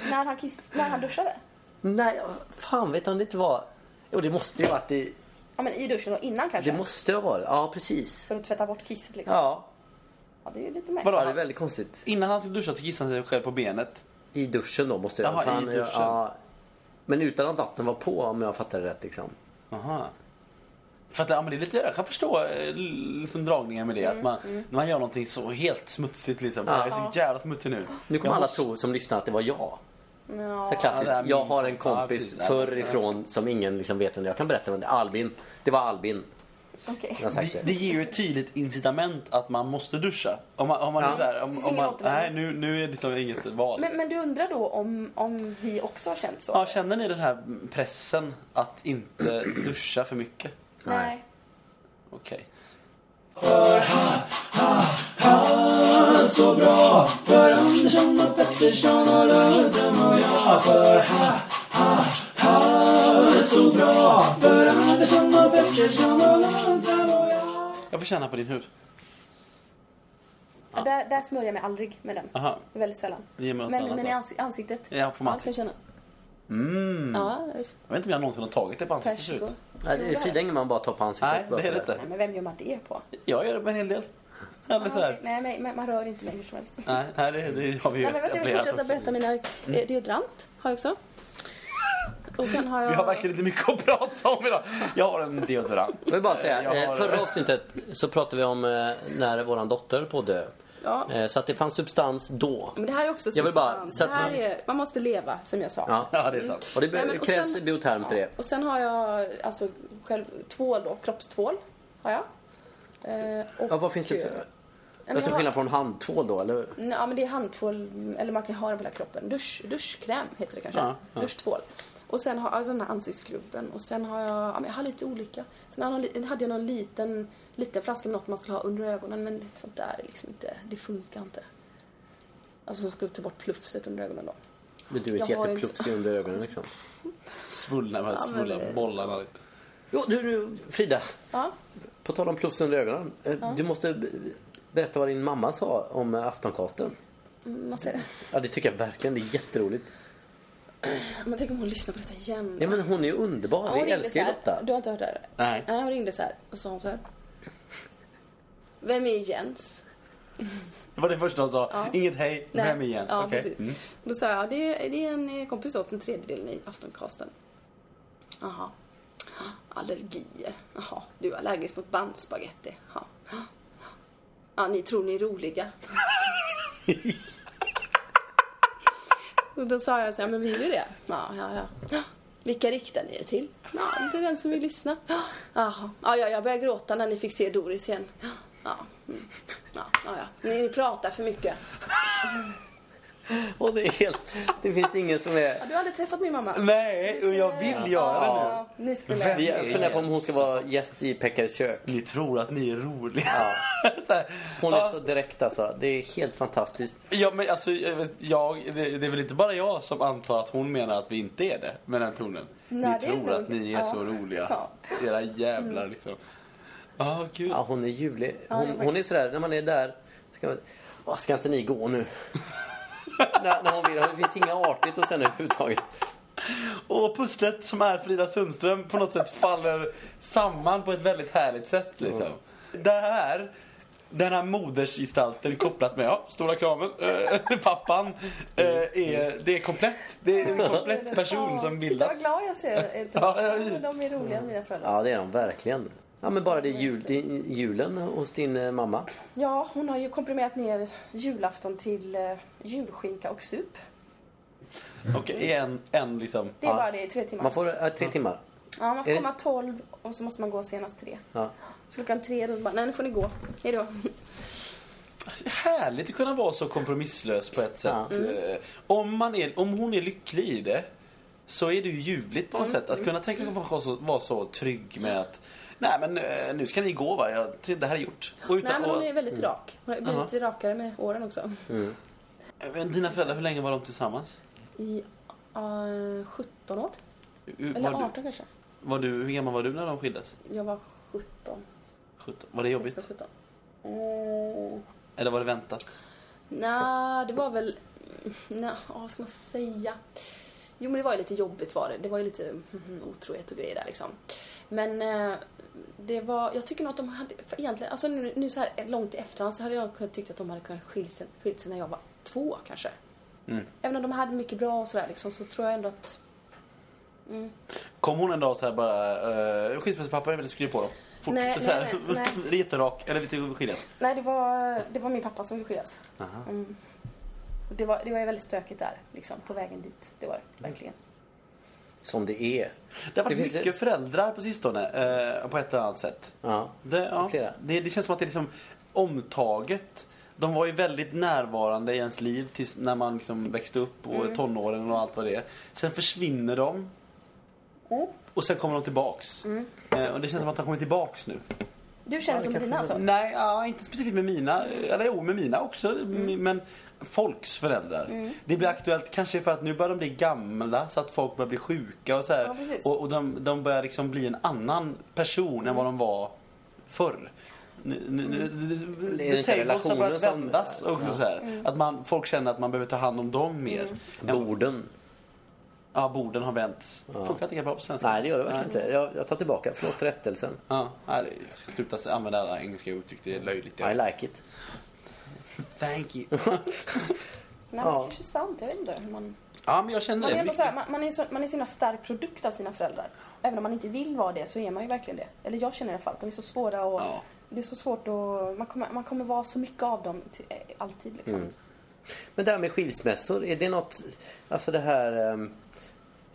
[SPEAKER 4] När han, kiss, när han duschade?
[SPEAKER 2] Nej, fan vet han det inte var... Jo det måste ju ha varit i...
[SPEAKER 4] Ja, men i duschen och innan kanske?
[SPEAKER 2] Det måste ha varit, ja precis.
[SPEAKER 4] För att tvätta bort kisset liksom. Ja.
[SPEAKER 2] Ja,
[SPEAKER 4] det är ju lite märkligt.
[SPEAKER 3] Vadå?
[SPEAKER 2] ja det är väldigt konstigt.
[SPEAKER 3] Innan han skulle duscha så kissade han sig själv på benet.
[SPEAKER 2] I duschen då måste det
[SPEAKER 3] Jaha,
[SPEAKER 2] för han-
[SPEAKER 3] i duschen.
[SPEAKER 2] Ja, men utan att vatten var på om jag fattar det rätt liksom.
[SPEAKER 3] Aha. För att, ja, men det är lite, jag kan förstå eh, liksom, dragningen med det. att man, När man gör någonting så helt smutsigt. Liksom, för
[SPEAKER 2] Mm. Ja.
[SPEAKER 3] Jag är så jävla smutsig nu.
[SPEAKER 2] Nu kommer
[SPEAKER 3] Jag
[SPEAKER 2] alla
[SPEAKER 3] måste-
[SPEAKER 2] tro som lyssnar att det var jag.
[SPEAKER 4] Ja.
[SPEAKER 2] Så klassiskt.
[SPEAKER 3] Ja, det är
[SPEAKER 2] jag
[SPEAKER 3] min-
[SPEAKER 2] har en
[SPEAKER 3] ja,
[SPEAKER 2] kompis
[SPEAKER 3] precis. Ja,
[SPEAKER 2] förr
[SPEAKER 3] det är
[SPEAKER 2] ifrån som ingen liksom vet vem det är. Jag kan berätta vem det är. Albin. Det var Albin.
[SPEAKER 4] Okej.
[SPEAKER 2] Jag har sagt
[SPEAKER 3] Det,
[SPEAKER 2] det.
[SPEAKER 3] det ger ju ett tydligt incitament att man måste duscha. Om man, om man
[SPEAKER 2] Ja.
[SPEAKER 3] är såhär,
[SPEAKER 4] Det
[SPEAKER 3] om,
[SPEAKER 4] finns
[SPEAKER 3] om
[SPEAKER 4] ingen
[SPEAKER 3] man,
[SPEAKER 4] återvändo.
[SPEAKER 3] nej nu, nu är det liksom inget val.
[SPEAKER 4] Men, men du undrar då om, om vi också har känt så?
[SPEAKER 3] ja, känner ni den här pressen att inte duscha för mycket?
[SPEAKER 4] Nej.
[SPEAKER 3] Okej.
[SPEAKER 1] Han så bra för Andersson och Pettersson och Lundström och jag för ha, ha, ha så bra för Andersson och Pettersson och Lundström och jag
[SPEAKER 3] Jag får känna på din hud.
[SPEAKER 4] Ja, Där, där smörjer jag mig aldrig med den.
[SPEAKER 3] Aha.
[SPEAKER 4] Väldigt sällan.
[SPEAKER 3] Ge mig något
[SPEAKER 4] Men,
[SPEAKER 3] annat
[SPEAKER 4] men i
[SPEAKER 3] då.
[SPEAKER 4] ans- ansiktet.
[SPEAKER 3] Ja, får man
[SPEAKER 5] Allt kan jag känna.
[SPEAKER 3] Mm.
[SPEAKER 5] Ja, visst.
[SPEAKER 3] Jag vet inte om jag någonsin har tagit det på ansiktet förut.
[SPEAKER 5] Persiko.
[SPEAKER 2] Nej, det är Frida Ingemann bara tar på ansiktet.
[SPEAKER 3] Nej,
[SPEAKER 2] bara
[SPEAKER 3] det är det
[SPEAKER 2] sådär.
[SPEAKER 3] inte.
[SPEAKER 4] Nej, men vem gör man det på?
[SPEAKER 3] Jag gör det på en hel del. Eller
[SPEAKER 4] Ah,
[SPEAKER 3] såhär.
[SPEAKER 4] okej. Nej, men, men man rör inte mig hur som helst.
[SPEAKER 3] Nej, nej det, det har vi ju
[SPEAKER 4] Nej, men vänta, jag vill
[SPEAKER 5] Jag
[SPEAKER 3] etablerat
[SPEAKER 5] fortsätter
[SPEAKER 3] också.
[SPEAKER 5] berätta mina...
[SPEAKER 2] Mm.
[SPEAKER 5] Eh, deodorant har jag också. Och sen har jag...
[SPEAKER 3] Vi har verkligen inte mycket att prata om idag. Jag har en deodorant.
[SPEAKER 2] Jag vill bara säga,
[SPEAKER 3] Jag
[SPEAKER 2] eh,
[SPEAKER 3] har-
[SPEAKER 2] förra avsnittet så pratade vi om eh, när våran dotter höll på att dö.
[SPEAKER 5] Ja.
[SPEAKER 2] Eh, Så att det fanns substans då.
[SPEAKER 5] Men det här är också
[SPEAKER 2] Jag vill bara-
[SPEAKER 5] substans.
[SPEAKER 2] så att
[SPEAKER 5] det här
[SPEAKER 2] man-
[SPEAKER 5] är, man måste leva, som jag sa.
[SPEAKER 2] Ja.
[SPEAKER 3] Ja, det är
[SPEAKER 4] Mm.
[SPEAKER 3] sant.
[SPEAKER 2] Och det be-
[SPEAKER 5] Nej, men- och
[SPEAKER 2] krävs
[SPEAKER 5] sen-
[SPEAKER 2] bioterm för det.
[SPEAKER 5] Och sen har jag alltså själv tvål då, kroppstvål har jag. Eh, och,
[SPEAKER 2] Ja, vad finns det
[SPEAKER 5] Nej,
[SPEAKER 2] för...
[SPEAKER 5] men
[SPEAKER 2] Jag
[SPEAKER 5] jag
[SPEAKER 2] tror
[SPEAKER 5] har,
[SPEAKER 2] skillnad från handtvål då, eller
[SPEAKER 5] Nej, ja, men det är handtvål, eller man kan ha den på hela kroppen. Dusch, duschkräm heter det kanske.
[SPEAKER 3] Ja, ja.
[SPEAKER 5] Duschtvål. Och sen har jag den här ansiktsskrubben och sen har jag, ja, men jag har lite olika. Sen har jag någon, li- hade jag någon liten, liten flaska med något man skulle ha under ögonen men sånt där är liksom inte, det funkar inte. Alltså som skulle ta bort plufset under ögonen då.
[SPEAKER 2] Men du är ett
[SPEAKER 5] Jag har ju
[SPEAKER 2] jätteplufsig under ögonen liksom.
[SPEAKER 3] Svullna, de här
[SPEAKER 5] Ja, men
[SPEAKER 3] svullna
[SPEAKER 5] det-
[SPEAKER 3] bollarna.
[SPEAKER 2] Jo, du, du Frida.
[SPEAKER 5] Ja.
[SPEAKER 2] På tal om plufs under ögonen. eh, Du måste be- berätta vad din mamma sa om eh, aftonkasten.
[SPEAKER 5] Mm, Vad säger du?
[SPEAKER 2] Ja, det tycker jag verkligen. Det är jätteroligt.
[SPEAKER 5] Men tänk om hon lyssnar på detta igen.
[SPEAKER 2] Nej, men hon är ju underbar.
[SPEAKER 5] Ja,
[SPEAKER 2] Vi
[SPEAKER 5] hon ringde
[SPEAKER 2] älskar ju
[SPEAKER 5] så här.
[SPEAKER 2] Lotta.
[SPEAKER 5] Du har inte hört det här?
[SPEAKER 2] Nej.
[SPEAKER 5] Nej, hon ringde så här och sa hon så här. Vem är Jens?
[SPEAKER 3] Det var det första han sa.
[SPEAKER 5] Ja.
[SPEAKER 3] Inget hej,
[SPEAKER 5] Nej.
[SPEAKER 3] vem är Jens?
[SPEAKER 5] Ja,
[SPEAKER 3] Okej.
[SPEAKER 5] precis.
[SPEAKER 3] Mm.
[SPEAKER 5] Och Då sa jag, det är, det är en eh, kompis till oss, den tredjedelen i aftoncasten. Jaha. Ah, Allergier. Jaha, du är allergisk mot bandspagetti. Jaha. Ja, ni tror ni är roliga. Och då sa jag så här, men vi är ju det. Ja, ja, ja. ja. Vilka riktar ni er till? Ja, till den som vill lyssna. Ja, Jaha. Ja, ja, jag började gråta när ni fick se Doris igen. Ja, ja, mm. ja, ja. ja. Ni pratar för mycket.
[SPEAKER 2] Och det är helt... Det finns ingen som
[SPEAKER 5] Ja,
[SPEAKER 2] är...
[SPEAKER 5] du har aldrig träffat min mamma. Du
[SPEAKER 3] Nej,
[SPEAKER 5] skulle
[SPEAKER 3] och jag
[SPEAKER 5] göra det.
[SPEAKER 3] vill göra det nu.
[SPEAKER 5] Ja, ni skulle.
[SPEAKER 2] Vi funderar på om hon ska vara gäst i Pekkares kök.
[SPEAKER 3] Ni tror att ni är roliga.
[SPEAKER 2] Ja.
[SPEAKER 3] Så här.
[SPEAKER 2] Hon är
[SPEAKER 3] Ja.
[SPEAKER 2] så direkt alltså. Det är helt fantastiskt.
[SPEAKER 3] Ja, men alltså, jag, vet- jag, det, det är väl inte bara jag som antar att hon menar att vi inte är det med den tonen.
[SPEAKER 5] Nej,
[SPEAKER 3] ni
[SPEAKER 5] det är
[SPEAKER 3] tror
[SPEAKER 5] nog-
[SPEAKER 3] att ni är
[SPEAKER 5] ja.
[SPEAKER 3] så roliga.
[SPEAKER 5] Ja. Mm.
[SPEAKER 3] Era jävlar liksom. Ja, gud.
[SPEAKER 2] Ja, hon är ljuvlig.
[SPEAKER 5] det är
[SPEAKER 2] Hon, hon är
[SPEAKER 5] faktiskt-
[SPEAKER 2] sådär, när man är där... Ska, man, "Åh, ska inte ni gå nu? när, när hon vill. Det finns inga artigt och sen överhuvudtaget.
[SPEAKER 3] Och pusslet som är Frida Sundström på något sätt faller samman på ett väldigt härligt sätt liksom. Det här, den här modersgestalten kopplat med, ja, stora kramen, eh, pappan, eh, är, det är komplett. Det är en komplett person som
[SPEAKER 4] Titta
[SPEAKER 3] bildas.
[SPEAKER 4] vad glad jag ser ut.
[SPEAKER 3] Ja, ja, ja.
[SPEAKER 4] De är roliga mina föräldrar.
[SPEAKER 2] Ja, det är de verkligen. Ja, men bara det jul, din, julen hos din eh, mamma.
[SPEAKER 4] Ja, hon har ju komprimerat ner julafton till eh, julskinka och sup.
[SPEAKER 3] Och en, en liksom.
[SPEAKER 4] Det är
[SPEAKER 2] Ja.
[SPEAKER 4] bara det i tre timmar.
[SPEAKER 2] Man får eh, tre timmar.
[SPEAKER 4] Ja, man
[SPEAKER 2] Är
[SPEAKER 4] får
[SPEAKER 2] det-
[SPEAKER 4] komma 12 och så måste man gå senast tre.
[SPEAKER 2] Ja.
[SPEAKER 4] Så klockan tre då bara, nej nu får ni gå. Hejdå.
[SPEAKER 3] Härligt att kunna vara så kompromisslös på ett sätt. Eh, Om, man är, om hon är lycklig i det så är det ju ljuvligt på något sätt. Att kunna tänka sig att vara så, vara så trygg med att Nej men eh, nu ska ni gå va, Jag, det här är gjort. Och
[SPEAKER 5] Nej,
[SPEAKER 3] utan,
[SPEAKER 5] men hon
[SPEAKER 3] och,
[SPEAKER 5] är väldigt rak. Hon har blivit rakare med åren också.
[SPEAKER 2] Mm.
[SPEAKER 3] Eh, men dina föräldrar, hur länge var de tillsammans?
[SPEAKER 5] I eh, 17 år.
[SPEAKER 3] Hur-
[SPEAKER 5] Eller
[SPEAKER 3] var,
[SPEAKER 5] 18 kanske.
[SPEAKER 3] du, var du, hur gammal var du när de skildes?
[SPEAKER 5] Jag var 17.
[SPEAKER 3] 17. Var det jobbigt?
[SPEAKER 5] 16-17.
[SPEAKER 4] Eh,
[SPEAKER 5] Mm.
[SPEAKER 3] Eller var det väntat?
[SPEAKER 5] Nej, det var väl... Nej, vad ska man säga? Jo, men det var ju lite jobbigt var det. Det var ju lite mm, otrohet och grejer där liksom. Men eh, det var... Jag tycker nog att de hade... för Egentligen, alltså nu, nu så här långt i efterhand så hade jag kunnat tyckt att de hade kunnat skilja sig, skilt sig när jag var två kanske. Även om de hade mycket bra och sådär liksom, så tror jag ändå att...
[SPEAKER 3] Kom hon en dag så här bara, uh, skilsmässopapper, jag vill skriva på dem. Fort,
[SPEAKER 5] Nej,
[SPEAKER 3] så här,
[SPEAKER 5] nej, nej,
[SPEAKER 3] Jätterak, eller vi ska skiljas.
[SPEAKER 4] Nej, det var, det var min pappa som ville skiljas. Mm. Och Det var, det var ju väldigt stökigt där, liksom, på vägen dit. Det var det, verkligen.
[SPEAKER 2] Som det är.
[SPEAKER 3] Det har varit
[SPEAKER 2] Det finns ju-
[SPEAKER 3] mycket föräldrar på sistone, eh, på ett eller annat sätt.
[SPEAKER 2] Ja.
[SPEAKER 3] Det, ja.
[SPEAKER 2] Flera.
[SPEAKER 3] det, det känns som att det är liksom omtaget. De var ju väldigt närvarande i ens liv tills när man liksom växte upp och tonåren och allt vad det är. Sen försvinner de. Och sen kommer de tillbaks. Eh, och det känns som att de kommer tillbaks nu.
[SPEAKER 4] Du känner som dina alltså?
[SPEAKER 3] Nej, ja, inte specifikt med mina. Eller jo, med mina också.
[SPEAKER 4] Mm.
[SPEAKER 3] m- Men folks föräldrar. Det blir aktuellt kanske för att nu börjar de bli gamla så att folk börjar bli sjuka och så här.
[SPEAKER 4] Ja, precis.
[SPEAKER 3] och och de, de börjar liksom bli en annan person än vad de var förr. Nu, nu, nu,
[SPEAKER 4] Mm.
[SPEAKER 3] nu,
[SPEAKER 2] Det är
[SPEAKER 3] the
[SPEAKER 2] inte
[SPEAKER 3] tables har börjat
[SPEAKER 2] relationen som-
[SPEAKER 3] vändas. Och så här. Att man, folk känner att man behöver ta hand om dem
[SPEAKER 4] Mm.
[SPEAKER 3] mer. Än-
[SPEAKER 2] Borden.
[SPEAKER 3] Ja, borden har vänts. Funkar inte bra på svenska.
[SPEAKER 2] Nej, det gör det verkligen inte. Jag, jag tar tillbaka. Förlåt rättelsen.
[SPEAKER 3] Ja, nej, det- jag ska sluta använda alla engelska uttryck. Det är löjligt.
[SPEAKER 2] I like it.
[SPEAKER 3] Thank you.
[SPEAKER 4] Nej, men det kanske är sant. Jag vet inte hur man...
[SPEAKER 3] Ja, men jag känner
[SPEAKER 4] Man är,
[SPEAKER 3] det.
[SPEAKER 4] ändå så här, man, man, är så, man är så himla stark produkt av sina föräldrar. Även om man inte vill vara det så är man ju verkligen det. Eller jag känner i alla fall. att De är så svåra och...
[SPEAKER 3] Ja.
[SPEAKER 4] Det är så svårt att... Man kommer, man kommer vara så mycket av dem till, eh, alltid liksom.
[SPEAKER 3] Mm.
[SPEAKER 2] Men det här med skilsmässor, är det något... Alltså det här... ehm,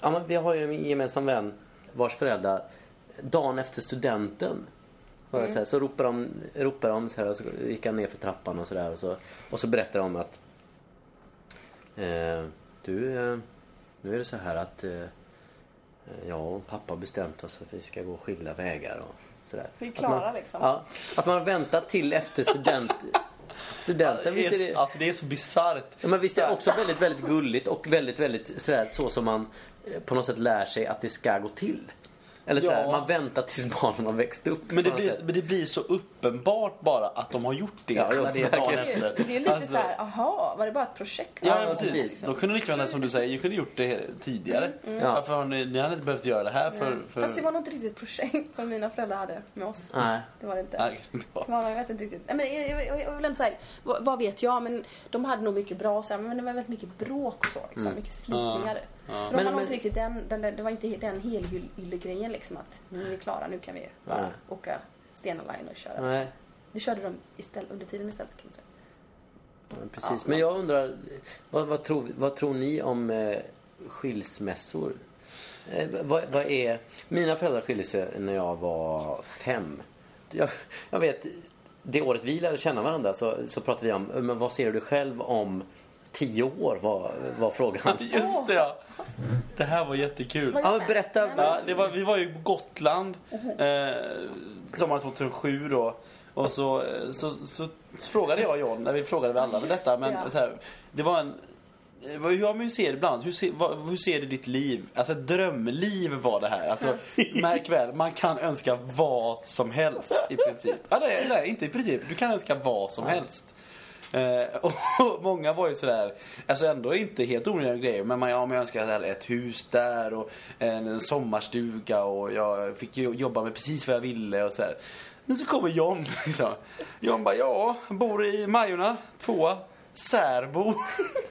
[SPEAKER 2] Ja, men vi har ju en gemensam vän vars föräldrar, dagen efter studenten, var det så, här, så ropar de, ropar de så här, och så gick han ner för trappan och så där. Och så, och så berättar de att... Eh, du, eh, nu är det så här att... Eh, jag och pappa har bestämt oss att vi ska gå skilda vägar och sådär.
[SPEAKER 4] Vi är klara,
[SPEAKER 2] att man,
[SPEAKER 4] liksom.
[SPEAKER 2] Ja, att man har väntat till efter student, studenten. Visst är det,
[SPEAKER 3] Alltså det är så bisarrt.
[SPEAKER 2] Ja, men visst är det också väldigt, väldigt gulligt och väldigt, väldigt sådär, så som man eh, på något sätt lär sig att det ska gå till. Eller så här,
[SPEAKER 3] Ja.
[SPEAKER 2] man väntar tills barnen har växt upp.
[SPEAKER 3] Men det,
[SPEAKER 2] på något
[SPEAKER 3] blir,
[SPEAKER 2] sätt.
[SPEAKER 3] men det blir så uppenbart bara att de har gjort det.
[SPEAKER 2] Ja, ja,
[SPEAKER 3] när det är dagen
[SPEAKER 2] verkligen.
[SPEAKER 4] Det är ju-
[SPEAKER 3] efter.
[SPEAKER 4] det är ju lite
[SPEAKER 3] Alltså,
[SPEAKER 4] så här, aha, var det bara ett projekt? Liksom.
[SPEAKER 3] Ja,
[SPEAKER 2] Ja,
[SPEAKER 3] precis.
[SPEAKER 2] precis. Mm,
[SPEAKER 3] De kunde lika gärna, som du säger, ni kunde gjort det tidigare.
[SPEAKER 2] Ja.
[SPEAKER 3] Varför har ni, ni hade inte behövt göra det här för... för...
[SPEAKER 4] Fast det var nog inte riktigt ett projekt som mina föräldrar hade med oss.
[SPEAKER 2] Nej.
[SPEAKER 4] Det var det inte.
[SPEAKER 3] Nej, det var-
[SPEAKER 4] Man vet inte riktigt.
[SPEAKER 5] Nej, men jag, jag, jag, jag vill ändå säga, vad, vad vet jag? Men de hade nog mycket bra så här, men det var väldigt mycket bråk och så. Liksom, Mycket slitningar. Så de
[SPEAKER 2] Mm. Men-
[SPEAKER 5] var nog
[SPEAKER 2] men-
[SPEAKER 5] inte riktigt den, den, där- det var inte he- den helyllegrejen liksom att nu är vi klara, nu kan vi bara
[SPEAKER 2] Nej.
[SPEAKER 5] åka Stena Line och köra.
[SPEAKER 2] Nej.
[SPEAKER 5] Det körde de istället, under tiden istället kan man säga.
[SPEAKER 2] Ja, Precis, men jag undrar, vad, vad, tror, vad tror ni om eh, skilsmässor? Eh, vad, vad är, mina föräldrar skilde sig när jag var fem. Jag, jag vet, det året vi lärde känna varandra så, så pratade vi om, "Eh, men vad ser du själv om tio år? var, var frågan.
[SPEAKER 3] Just det, ja. Det här var jättekul.
[SPEAKER 2] Ja, men berätta.
[SPEAKER 3] Ja, det var, vi var ju på Gotland eh, sommaren 2007 då. Och så, eh, så, så frågade jag John, när vi frågade väl alla om detta, men
[SPEAKER 4] ja.
[SPEAKER 3] så här, det var en eh, vad- hur, ja, men hur ser det ibland? Hur ser, vad, hur ser du ditt liv? Alltså ett drömliv var det här. Alltså, märk väl, man kan önska vad som helst i princip. Ja, nej, nej, inte i princip. Du kan önska vad som helst. Eh, och, och många var ju sådär, alltså ändå inte helt onödiga grejer, men man, ja, men jag önskar sådär ett hus där och en sommarstuga och jag fick ju jobba med precis vad jag ville och sådär. Men så kommer John liksom. John bara, ja, han bor i Majorna, tvåa, särbo.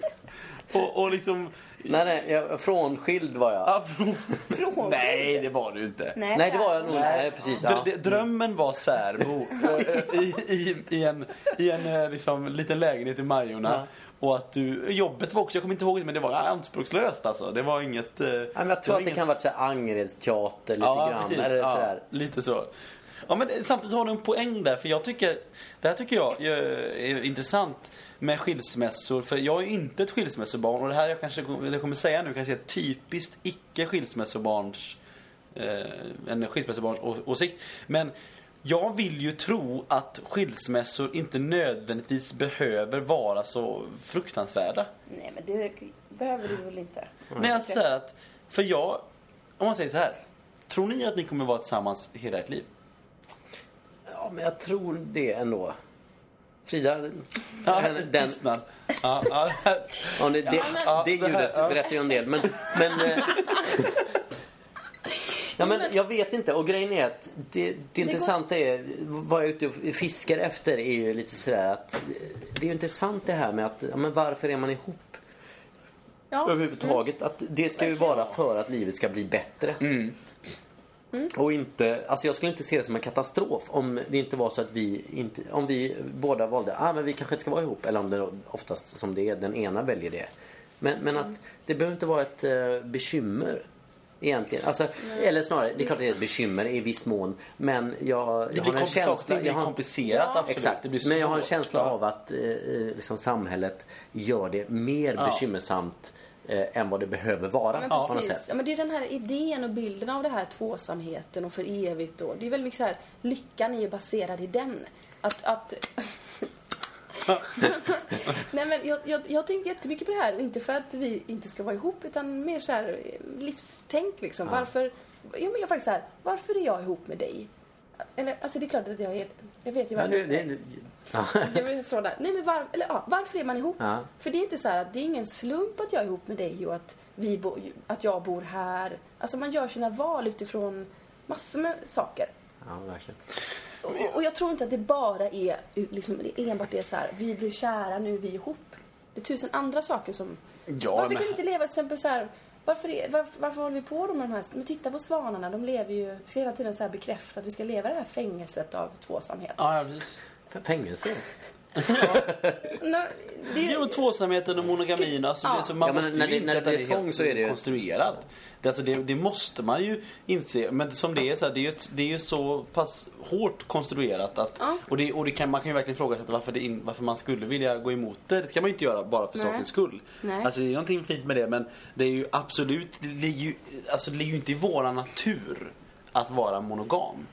[SPEAKER 3] och, och liksom,
[SPEAKER 2] Nej, nej, jag, frånskild var jag.
[SPEAKER 3] ja, nej det var du inte.
[SPEAKER 2] nej, det var jag nog inte. Nej, precis. Ja.
[SPEAKER 3] Dr- det- Drömmen var särbo eh, i, i, i en, i en eh, liksom, liten lägenhet i Majorna. Och att du, jobbet var också, jag kommer inte ihåg det, men det var anspråkslöst alltså. Det var inget... eh,
[SPEAKER 2] Ja, men jag tror att det kan ha varit så här Angeredsteater lite grann. Eller
[SPEAKER 3] ja,
[SPEAKER 2] sådär.
[SPEAKER 3] lite så. Ja, men samtidigt har du en poäng där, för jag tycker, det här tycker jag eh, är intressant med skilsmässor, för jag är ju inte ett skilsmässobarn och det här jag kanske det jag kommer säga nu kanske är ett typiskt icke skilsmässobarns eh, en skilsmässobarns å- åsikt. Men jag vill ju tro att skilsmässor inte nödvändigtvis behöver vara så fruktansvärda.
[SPEAKER 4] Nej, men det behöver du väl inte.
[SPEAKER 3] Nej, alltså så här att, för jag, om man säger så här. Tror ni att ni kommer vara tillsammans hela ert liv?
[SPEAKER 2] Ja, men jag tror det ändå. Frida,
[SPEAKER 3] Ja,
[SPEAKER 2] den, den,
[SPEAKER 3] tystnad. Ja, ja.
[SPEAKER 2] Ja, det, det,
[SPEAKER 3] Ja,
[SPEAKER 2] det
[SPEAKER 3] det här,
[SPEAKER 2] ljudet
[SPEAKER 3] ja.
[SPEAKER 2] berättar ju en del. Men, men, eh, ja, men jag vet inte. Och grejen är att det, det intressanta är vad jag är ute och fiskar efter är ju lite sådär att eh, det är ju intressant det här med att ja, men varför är man ihop? Överhuvudtaget. Att det ska ju vara för att livet ska bli bättre.
[SPEAKER 3] Mm.
[SPEAKER 2] Och inte, alltså jag skulle inte se det som en katastrof om det inte var så att vi inte, om vi båda valde, ah men vi kanske inte ska vara ihop. Eller om det oftast som det är, den ena väljer det. Men, men att det behöver inte vara ett eh, bekymmer. Egentligen. Alltså, eller snarare, det är klart det är ett bekymmer i viss mån. Men jag,
[SPEAKER 3] Det
[SPEAKER 2] jag
[SPEAKER 3] blir
[SPEAKER 2] har en
[SPEAKER 3] kompl- saker
[SPEAKER 2] känsla...
[SPEAKER 3] blir
[SPEAKER 2] Jag har,
[SPEAKER 3] komplicerat, absolut.
[SPEAKER 2] Exakt.
[SPEAKER 3] Det blir
[SPEAKER 2] men jag har en
[SPEAKER 3] svårt,
[SPEAKER 2] känsla
[SPEAKER 3] ja.
[SPEAKER 2] av att eh, eh, liksom samhället gör det mer
[SPEAKER 3] Ja.
[SPEAKER 2] bekymmersamt eh, än vad det behöver vara.
[SPEAKER 5] Men
[SPEAKER 2] på något
[SPEAKER 5] precis.
[SPEAKER 2] sätt.
[SPEAKER 5] Ja, men det är den här idén och bilden av det här tvåsamheten och för evigt då. Det är väldigt mycket så här, lyckan är ju baserad i den. Att, att... Nej men jag, jag, jag har tänkt jättemycket på det här och inte för att vi inte ska vara ihop utan mer så här eh, livstänk liksom. Varför, jo men jag är faktiskt så här, varför är jag ihop med dig? Eller alltså det är klart att jag är, jag vet ju
[SPEAKER 2] Ja,
[SPEAKER 5] varför.
[SPEAKER 2] nu, det, ja.
[SPEAKER 5] Det blir så där. Nej, men var, eller, ja, varför är man ihop?
[SPEAKER 2] Ja.
[SPEAKER 5] För det är inte så här att det är ingen slump att jag är ihop med dig och att, vi bo, att jag bor här. Alltså man gör sina val utifrån massor med saker.
[SPEAKER 2] ja, verkligen.
[SPEAKER 5] Och, och- och jag tror inte att det bara är liksom, det enbart är så här, vi blir kära, nu är vi ihop. Det är tusen andra saker som...
[SPEAKER 3] Ja,
[SPEAKER 5] varför
[SPEAKER 3] men-
[SPEAKER 5] kan vi inte leva till exempel så här, varför, är, varför, varför håller vi på då med de här... Men titta på svanarna, de lever ju... Vi ska hela tiden så här bekräfta att vi ska leva i det här fängelset av tvåsamhet.
[SPEAKER 3] Ja, ja, precis.
[SPEAKER 2] F- Fängelse?
[SPEAKER 5] Nej, det,
[SPEAKER 3] Jo, tvåsamheten och monogamin. Alltså, det, är så man
[SPEAKER 2] Ja, men
[SPEAKER 3] måste
[SPEAKER 2] när
[SPEAKER 3] ju
[SPEAKER 2] det-
[SPEAKER 3] inse
[SPEAKER 2] när det
[SPEAKER 3] att
[SPEAKER 2] blir
[SPEAKER 3] den
[SPEAKER 2] tvång
[SPEAKER 3] helt
[SPEAKER 2] så är det ju-
[SPEAKER 3] konstruerad. Det, alltså, det, det måste man ju inse. Men som det är så här, det är ju, ett, det är ju så pass hårt konstruerat. Att, Och, det, och det kan, man kan ju verkligen fråga sig varför, det in, varför man skulle vilja gå emot det. Det ska man ju inte göra bara för sakens skull.
[SPEAKER 5] Nej.
[SPEAKER 3] Alltså, det är någonting fint med det men det är ju absolut, det ligger ju, alltså, det ligger ju inte i våran natur att vara monogam.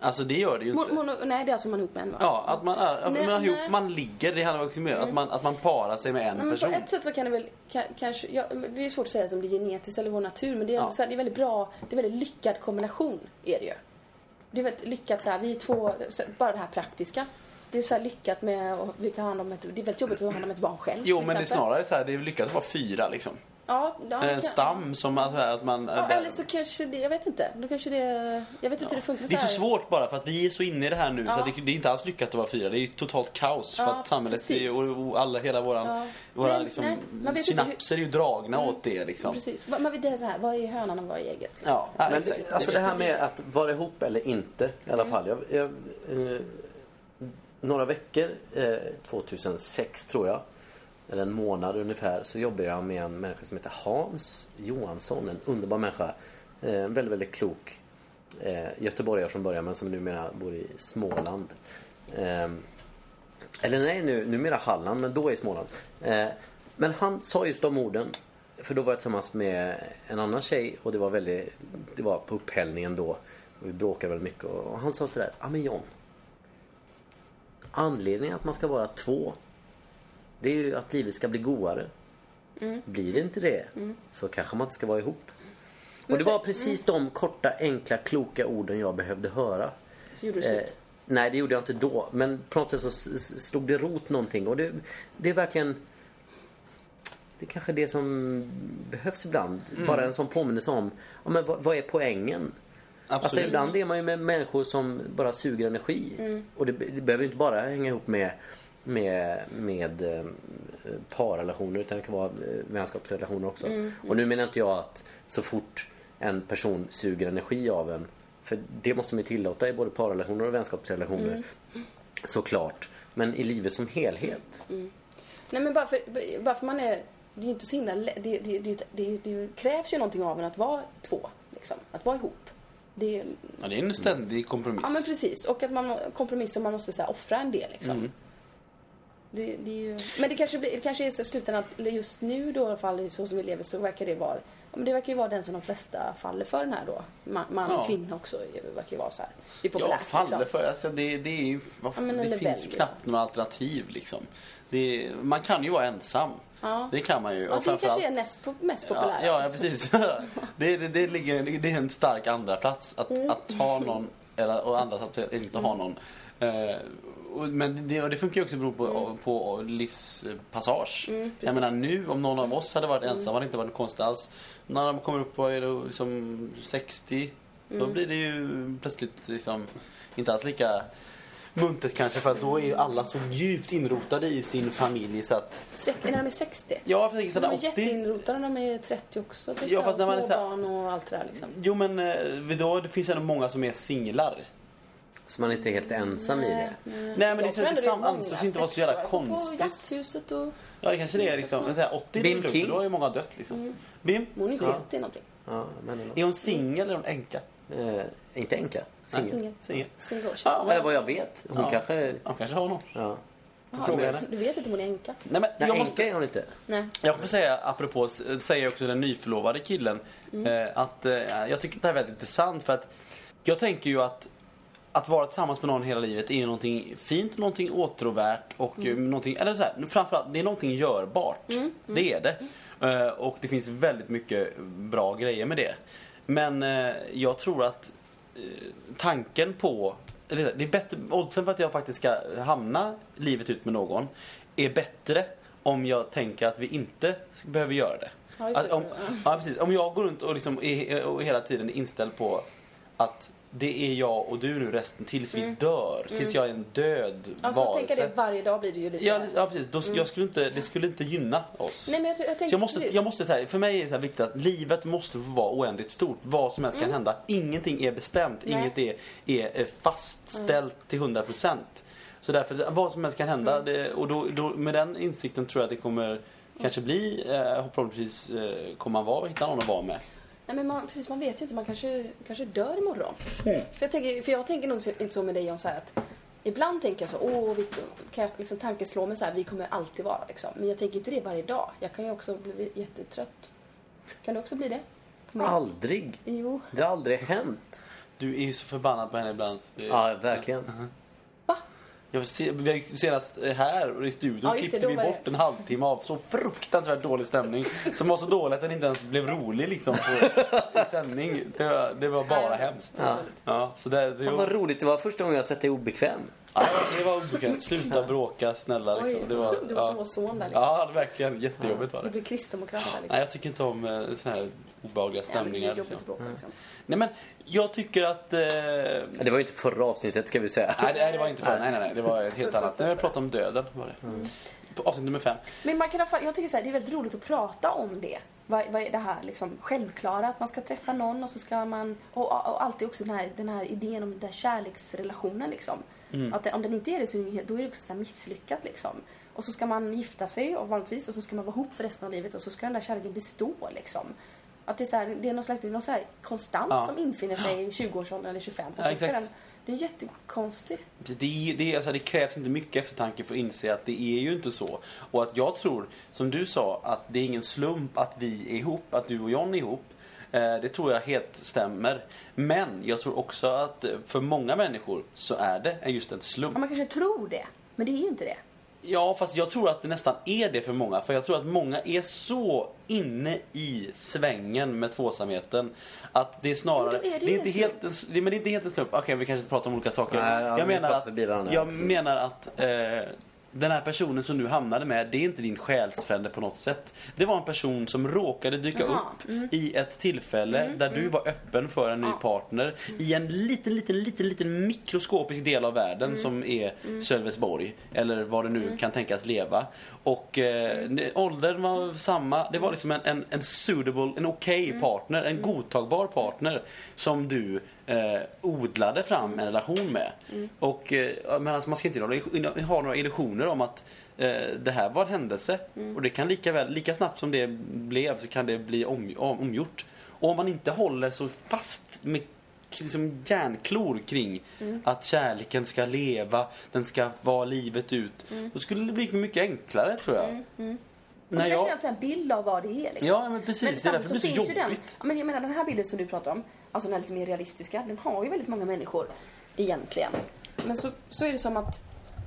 [SPEAKER 3] Alltså det gör det ju inte.
[SPEAKER 5] Mon, mono, nej, det är alltså man är ihop med en va?
[SPEAKER 3] Ja, att man, är, att
[SPEAKER 5] Nej,
[SPEAKER 3] man, har ihop,
[SPEAKER 5] nej.
[SPEAKER 3] man ligger, det handlar också om att man, att man parar sig med en
[SPEAKER 5] Nej, men på
[SPEAKER 3] person.
[SPEAKER 5] ett sätt så kan det väl ka- kanske, ja, men det är svårt att säga som det är genetiskt eller vår natur, men det är,
[SPEAKER 3] Ja.
[SPEAKER 5] så här, det är väldigt bra, det är väldigt lyckad kombination är det ju. Det är väldigt lyckat så här, vi är två, så här, bara det här praktiska. Det är så här lyckat med att vi tar hand om ett, det är väldigt jobbigt att ta hand om ett barn själv
[SPEAKER 3] Jo,
[SPEAKER 5] till
[SPEAKER 3] men det är
[SPEAKER 5] exempel.
[SPEAKER 3] snarare så här, det är lyckat att vara fyra liksom.
[SPEAKER 5] ja, ja, det
[SPEAKER 3] en
[SPEAKER 5] kan-
[SPEAKER 3] stam som alltså, här, att man...
[SPEAKER 5] Ja, eller så kanske det, jag vet inte, då kanske det, jag vet inte hur det funkar med
[SPEAKER 3] Det är så
[SPEAKER 5] här-
[SPEAKER 3] svårt bara för att vi är så inne i det här nu så
[SPEAKER 5] Ja.
[SPEAKER 3] att det, det är inte alls lyckat att vara fyra. Det är ju totalt kaos
[SPEAKER 5] Ja,
[SPEAKER 3] för att samhället är, ju-
[SPEAKER 5] precis.
[SPEAKER 3] och, och alla, hela våran,
[SPEAKER 5] Ja.
[SPEAKER 3] våra
[SPEAKER 5] Nej,
[SPEAKER 3] liksom,
[SPEAKER 5] nej, man vet inte hur- Mm,
[SPEAKER 3] synapser är ju dragna åt det liksom.
[SPEAKER 5] Precis, Vad- men det är det här, vad är hönan och vad är ägget? liksom?
[SPEAKER 3] Ja,
[SPEAKER 2] Men
[SPEAKER 3] exakt.
[SPEAKER 2] det, Mm. alltså det här med att vara ihop eller inte i alla fall. Jag, jag, eh, några veckor, eh, 2006 tror jag, eller en månad ungefär, så jobbade jag med en människa som heter Hans Johansson. En underbar människa. Eh, en väldigt, väldigt klok eh, göteborgare från början men som numera bor i Småland. Ehm, eller nej, nu, numera Halland, men då i Småland. Eh, men han sa just de orden. För då var jag tillsammans med en annan tjej och det var väldigt, det var på upphällningen då. Och vi bråkade väldigt mycket och, och han sa sådär, ja men John. Anledningen att man ska vara två, det är ju att livet ska bli godare. Blir det inte det, så kanske man inte ska vara ihop. Och det var precis de korta, enkla, kloka orden jag behövde höra.
[SPEAKER 5] Så gjorde du
[SPEAKER 2] Eh,
[SPEAKER 5] slut.
[SPEAKER 2] nej, det gjorde jag inte då. Men på något sätt så s- s- slog det rot någonting. Och det, det är verkligen... Det är kanske det som behövs ibland. Bara en sån påminnelse om ja, men vad, vad är poängen? Alltså,
[SPEAKER 3] Absolut. Mm.
[SPEAKER 2] ibland är man ju med människor som bara suger energi. Och det, det behöver ju inte bara hänga ihop med, med, med eh, parrelationer utan det kan vara eh, vänskapsrelationer också.
[SPEAKER 3] Mm.
[SPEAKER 2] Och nu menar inte jag att så fort en person suger energi av en, för det måste man ju tillåta i både parrelationer och vänskapsrelationer,
[SPEAKER 3] Mm.
[SPEAKER 2] såklart. Men i livet som helhet.
[SPEAKER 5] Nej men bara för, bara för man är, det är ju inte så himla lä- det, det, det, det, det krävs ju någonting av en att vara två, liksom. Att vara ihop. Det är,
[SPEAKER 3] Ja, det är en ständig kompromiss.
[SPEAKER 5] ja men precis, och att man kompromissar och man måste så här, offra en del liksom.
[SPEAKER 3] Mm.
[SPEAKER 5] Det, det är ju, men det kanske, blir, det kanske är så i slutändan att eller just nu då i alla fall så som vi lever så verkar det vara ja, men det verkar ju vara den som de flesta faller för den här då. Man, man
[SPEAKER 3] Ja.
[SPEAKER 5] och kvinna också verkar ju vara så här. Det är
[SPEAKER 3] Ja,
[SPEAKER 5] populärt
[SPEAKER 3] faller
[SPEAKER 5] liksom.
[SPEAKER 3] för. Alltså, det det, är, ju- vad,
[SPEAKER 5] Ja, men
[SPEAKER 3] det
[SPEAKER 5] eller
[SPEAKER 3] finns ju
[SPEAKER 5] väljer.
[SPEAKER 3] knappt några alternativ. Liksom. Det, man kan ju vara ensam.
[SPEAKER 5] Ja.
[SPEAKER 3] Det kan man ju.
[SPEAKER 5] Ja, det kanske är
[SPEAKER 3] framförallt-
[SPEAKER 5] näst, po- mest populära. liksom.
[SPEAKER 3] Ja, ja precis. det, det, det, ligger, det är en stark andra plats att,
[SPEAKER 5] Mm.
[SPEAKER 3] att ha någon eller, och andra att inte ha någon. Eh, och, men det, och det funkar ju också bero på, på livspassage. jag
[SPEAKER 5] Mm. precis. Mm.
[SPEAKER 3] menar nu om någon av oss hade varit ensam hade det inte varit konstigt alls. När de kommer upp på är det liksom 60 då
[SPEAKER 5] Mm.
[SPEAKER 3] blir det ju plötsligt liksom, inte alls lika muntet kanske för att då är ju alla så djupt inrotade i sin familj så att
[SPEAKER 5] Sex, när de är 60.
[SPEAKER 3] Ja, för jag tänker
[SPEAKER 5] De är
[SPEAKER 3] sådär 80
[SPEAKER 5] jätteinrotade när de är 30 också.
[SPEAKER 3] Ja, fast när man är så här-
[SPEAKER 5] Småbarn och allt det där liksom.
[SPEAKER 3] Jo men eh, då, det finns ändå många som är singlar.
[SPEAKER 2] Så man är inte helt ensam i det.
[SPEAKER 3] Nej men det, är
[SPEAKER 5] Jag
[SPEAKER 3] så-
[SPEAKER 5] tror
[SPEAKER 3] det
[SPEAKER 5] ändå det är
[SPEAKER 3] sam-
[SPEAKER 5] många
[SPEAKER 3] ansågs inte vara så jävla
[SPEAKER 5] sexåringar På
[SPEAKER 3] konstigt.
[SPEAKER 5] jazzhuset och
[SPEAKER 3] Ja det kanske det är liksom. Men, så här, 80 är
[SPEAKER 2] Mm. Bim
[SPEAKER 3] det lugnt, för
[SPEAKER 2] King.
[SPEAKER 3] då har ju många dött liksom. Bim?
[SPEAKER 5] hon är
[SPEAKER 3] Så.
[SPEAKER 5] 70 någonting.
[SPEAKER 2] Ja, men,
[SPEAKER 3] Är hon singel eller är hon änka?
[SPEAKER 2] eh, inte enka. Singel.
[SPEAKER 5] Singel.
[SPEAKER 3] Singel.
[SPEAKER 5] Single års.
[SPEAKER 3] Ja,
[SPEAKER 2] Eller vad jag vet. Hon
[SPEAKER 3] Ja.
[SPEAKER 2] kanske...
[SPEAKER 3] Hon kanske har någon.
[SPEAKER 2] Ja.
[SPEAKER 5] Ja,
[SPEAKER 3] fråga
[SPEAKER 5] du-
[SPEAKER 3] henne.
[SPEAKER 5] Du vet inte om hon är änka?
[SPEAKER 3] Nej men
[SPEAKER 2] Nej,
[SPEAKER 3] jag
[SPEAKER 2] enka
[SPEAKER 3] måste...
[SPEAKER 2] är hon inte.
[SPEAKER 5] Nej.
[SPEAKER 3] Jag får säga, apropå, s- säger också den nyförlovade killen, eh, att eh, jag tycker det här är väldigt intressant för att jag tänker ju att att vara tillsammans med någon hela livet är ju någonting fint, någonting åtråvärt och mm. någonting, eller så här, nu framförallt, det är någonting görbart. Det är det. Eh, och det finns väldigt mycket bra grejer med det. Men eh, jag tror att eh, tanken på, eller det är bättre, oddsen för att jag faktiskt ska hamna livet ut med någon är bättre om jag tänker att vi inte behöver göra det.
[SPEAKER 5] Ja, just det.
[SPEAKER 3] Att om, ja, precis. Om jag går runt och, liksom är, och hela tiden är inställd på att det är jag och du nu resten tills vi dör. Tills jag är en död
[SPEAKER 5] Mm. Ja, ska man tänka det varje dag blir det ju lite...
[SPEAKER 3] Ja, ja precis. Då, jag skulle inte, det skulle inte gynna oss.
[SPEAKER 5] Nej men jag, tror-
[SPEAKER 3] Så
[SPEAKER 5] jag tänker
[SPEAKER 3] jag måste,
[SPEAKER 5] precis.
[SPEAKER 3] jag måste, så här, för mig är det så här viktigt att livet måste få vara oändligt stort. Vad som helst kan hända. Ingenting är bestämt.
[SPEAKER 5] Nej.
[SPEAKER 3] Inget är, är eh, fastställt till 100 procent. Så därför, vad som helst kan hända. Det, och då, då, med den insikten tror jag att det kommer kanske bli, eh, förhoppningsvis eh, kommer man vara, hitta någon att vara med.
[SPEAKER 5] Nej, men man, precis, man vet ju inte. Man kanske, kanske dör imorgon. För, jag tänker, för jag tänker nog så- inte så med dig John, så här att ibland tänker jag så, åh, vi, kan jag liksom tanken slå mig så här, vi kommer alltid vara liksom. Men jag tänker inte det varje dag. Jag kan ju också bli jättetrött. Kan du också bli det? På mig?
[SPEAKER 2] Aldrig.
[SPEAKER 5] Jo.
[SPEAKER 2] Det har aldrig hänt.
[SPEAKER 3] Du är ju så förbannad på henne ibland. så det-
[SPEAKER 2] Ja, verkligen.
[SPEAKER 3] Jag vill se, vi har ju senast eh, här och i studion
[SPEAKER 5] Ja, just det,
[SPEAKER 3] klippte
[SPEAKER 5] då
[SPEAKER 3] vi
[SPEAKER 5] var det-
[SPEAKER 3] bort en halvtimme av så fruktansvärt dålig stämning. Som var så dålig att den inte ens blev rolig liksom på i sändning. Det var, det var bara hemskt.
[SPEAKER 2] Ja.
[SPEAKER 3] Ja, så det, det,
[SPEAKER 2] Vad roligt, det var första gången jag sett dig obekväm.
[SPEAKER 3] ja, det var obekvämt. Sluta bråka snälla
[SPEAKER 5] Oj,
[SPEAKER 3] liksom. Det var,
[SPEAKER 5] det var
[SPEAKER 3] ja.
[SPEAKER 5] som vår son där liksom.
[SPEAKER 3] ja, det var verkligen jättejobbigt var
[SPEAKER 5] Det
[SPEAKER 3] det.
[SPEAKER 5] blir kristdemokrat där liksom.
[SPEAKER 3] Nej, jag tycker inte om eh, såna här obehagliga
[SPEAKER 5] Ja, men det
[SPEAKER 3] stämningar.
[SPEAKER 5] blir
[SPEAKER 3] liksom.
[SPEAKER 5] jobbigt att bråka liksom.
[SPEAKER 3] Nej men jag tycker att... Eh,
[SPEAKER 2] Det var ju inte förra avsnittet ska vi säga.
[SPEAKER 3] Nej, det, nej, det var inte för. Nej, nej, nej. Det var ett helt
[SPEAKER 5] För- för-
[SPEAKER 3] annat.
[SPEAKER 5] för-
[SPEAKER 3] Nej, vi pratade om döden. Var det. På Avsnitt nummer fem.
[SPEAKER 5] Men man kan i alla fall, jag tycker så här, det är väldigt roligt att prata om det. Vad, vad är det här liksom självklara? Att man ska träffa någon och så ska man... Och, och, och alltid också den här, den här idén om den där kärleksrelationen liksom.
[SPEAKER 3] Mm.
[SPEAKER 5] Att det, om den inte är det så är det, ju helt- då är det också så här misslyckat liksom. Och så ska man gifta sig och vanligtvis och så ska man vara ihop för resten av livet och så ska den där kärleken bestå liksom. Att det är, så här, det är någon slags det är någon så här konstant
[SPEAKER 3] Ja.
[SPEAKER 5] som infinner sig i 20-årsåldern eller 25. Och
[SPEAKER 3] Ja,
[SPEAKER 5] så ska
[SPEAKER 3] exakt.
[SPEAKER 5] den, det är jättekonstigt.
[SPEAKER 3] Det, är- det, är- alltså, det krävs inte mycket eftertanke för att inse att det är ju inte så. Och att jag tror, som du sa, att det är ingen slump att vi är ihop, att du och John är ihop. Eh, Det tror jag helt stämmer. Men jag tror också att eh, för många människor så är det just en slump.
[SPEAKER 5] Ja, man kanske tror det, men det är ju inte det.
[SPEAKER 3] Ja, fast jag tror att det nästan är det för många. För jag tror att många är så inne i svängen med tvåsamheten att det är snarare...
[SPEAKER 5] Jo, då är det ju
[SPEAKER 3] är inte
[SPEAKER 5] en
[SPEAKER 3] helt en, det, men det är inte helt en slump. Okej, vi kanske inte pratar om olika saker.
[SPEAKER 2] Nej, ja,
[SPEAKER 3] jag
[SPEAKER 2] vi
[SPEAKER 3] menar
[SPEAKER 2] pratar
[SPEAKER 3] att,
[SPEAKER 2] förbi varandra,
[SPEAKER 3] jag
[SPEAKER 2] precis.
[SPEAKER 3] menar att eh, den här personen som du hamnade med, det är inte din själsfrände på något sätt. Det var en person som råkade dyka
[SPEAKER 5] Jaha,
[SPEAKER 3] upp i ett tillfälle där du var öppen för en ny partner i en liten, liten, liten, liten mikroskopisk del av världen som är Sölvesborg. Eller var det nu kan tänkas leva. Och eh, det- åldern var samma. Det var liksom en, en, en suitable, en okej partner, en godtagbar partner som du eh, odlade fram en relation med. Och eh, men alltså, man ska inte ha- ha några illusioner om att Eh, det här var en händelse
[SPEAKER 5] Mm.
[SPEAKER 3] och det kan lika väl, lika snabbt som det blev så kan det bli om, om, omgjort. Och om man inte håller så fast med k- liksom järnklor kring
[SPEAKER 5] Mm.
[SPEAKER 3] att kärleken ska leva, den ska vara livet ut. Då skulle det bli mycket enklare tror jag.
[SPEAKER 5] Och
[SPEAKER 3] När
[SPEAKER 5] Mm. det
[SPEAKER 3] jag...
[SPEAKER 5] kanske är en sån här bild av vad det är liksom.
[SPEAKER 3] Ja men precis, det är
[SPEAKER 5] samtidigt
[SPEAKER 3] därför det blir så
[SPEAKER 5] finns ju
[SPEAKER 3] jobbigt.
[SPEAKER 5] den, ja, men jag menar den här bilden som du pratar om, alltså den här lite mer realistiska, den har ju väldigt många människor egentligen. Men så, så är det som att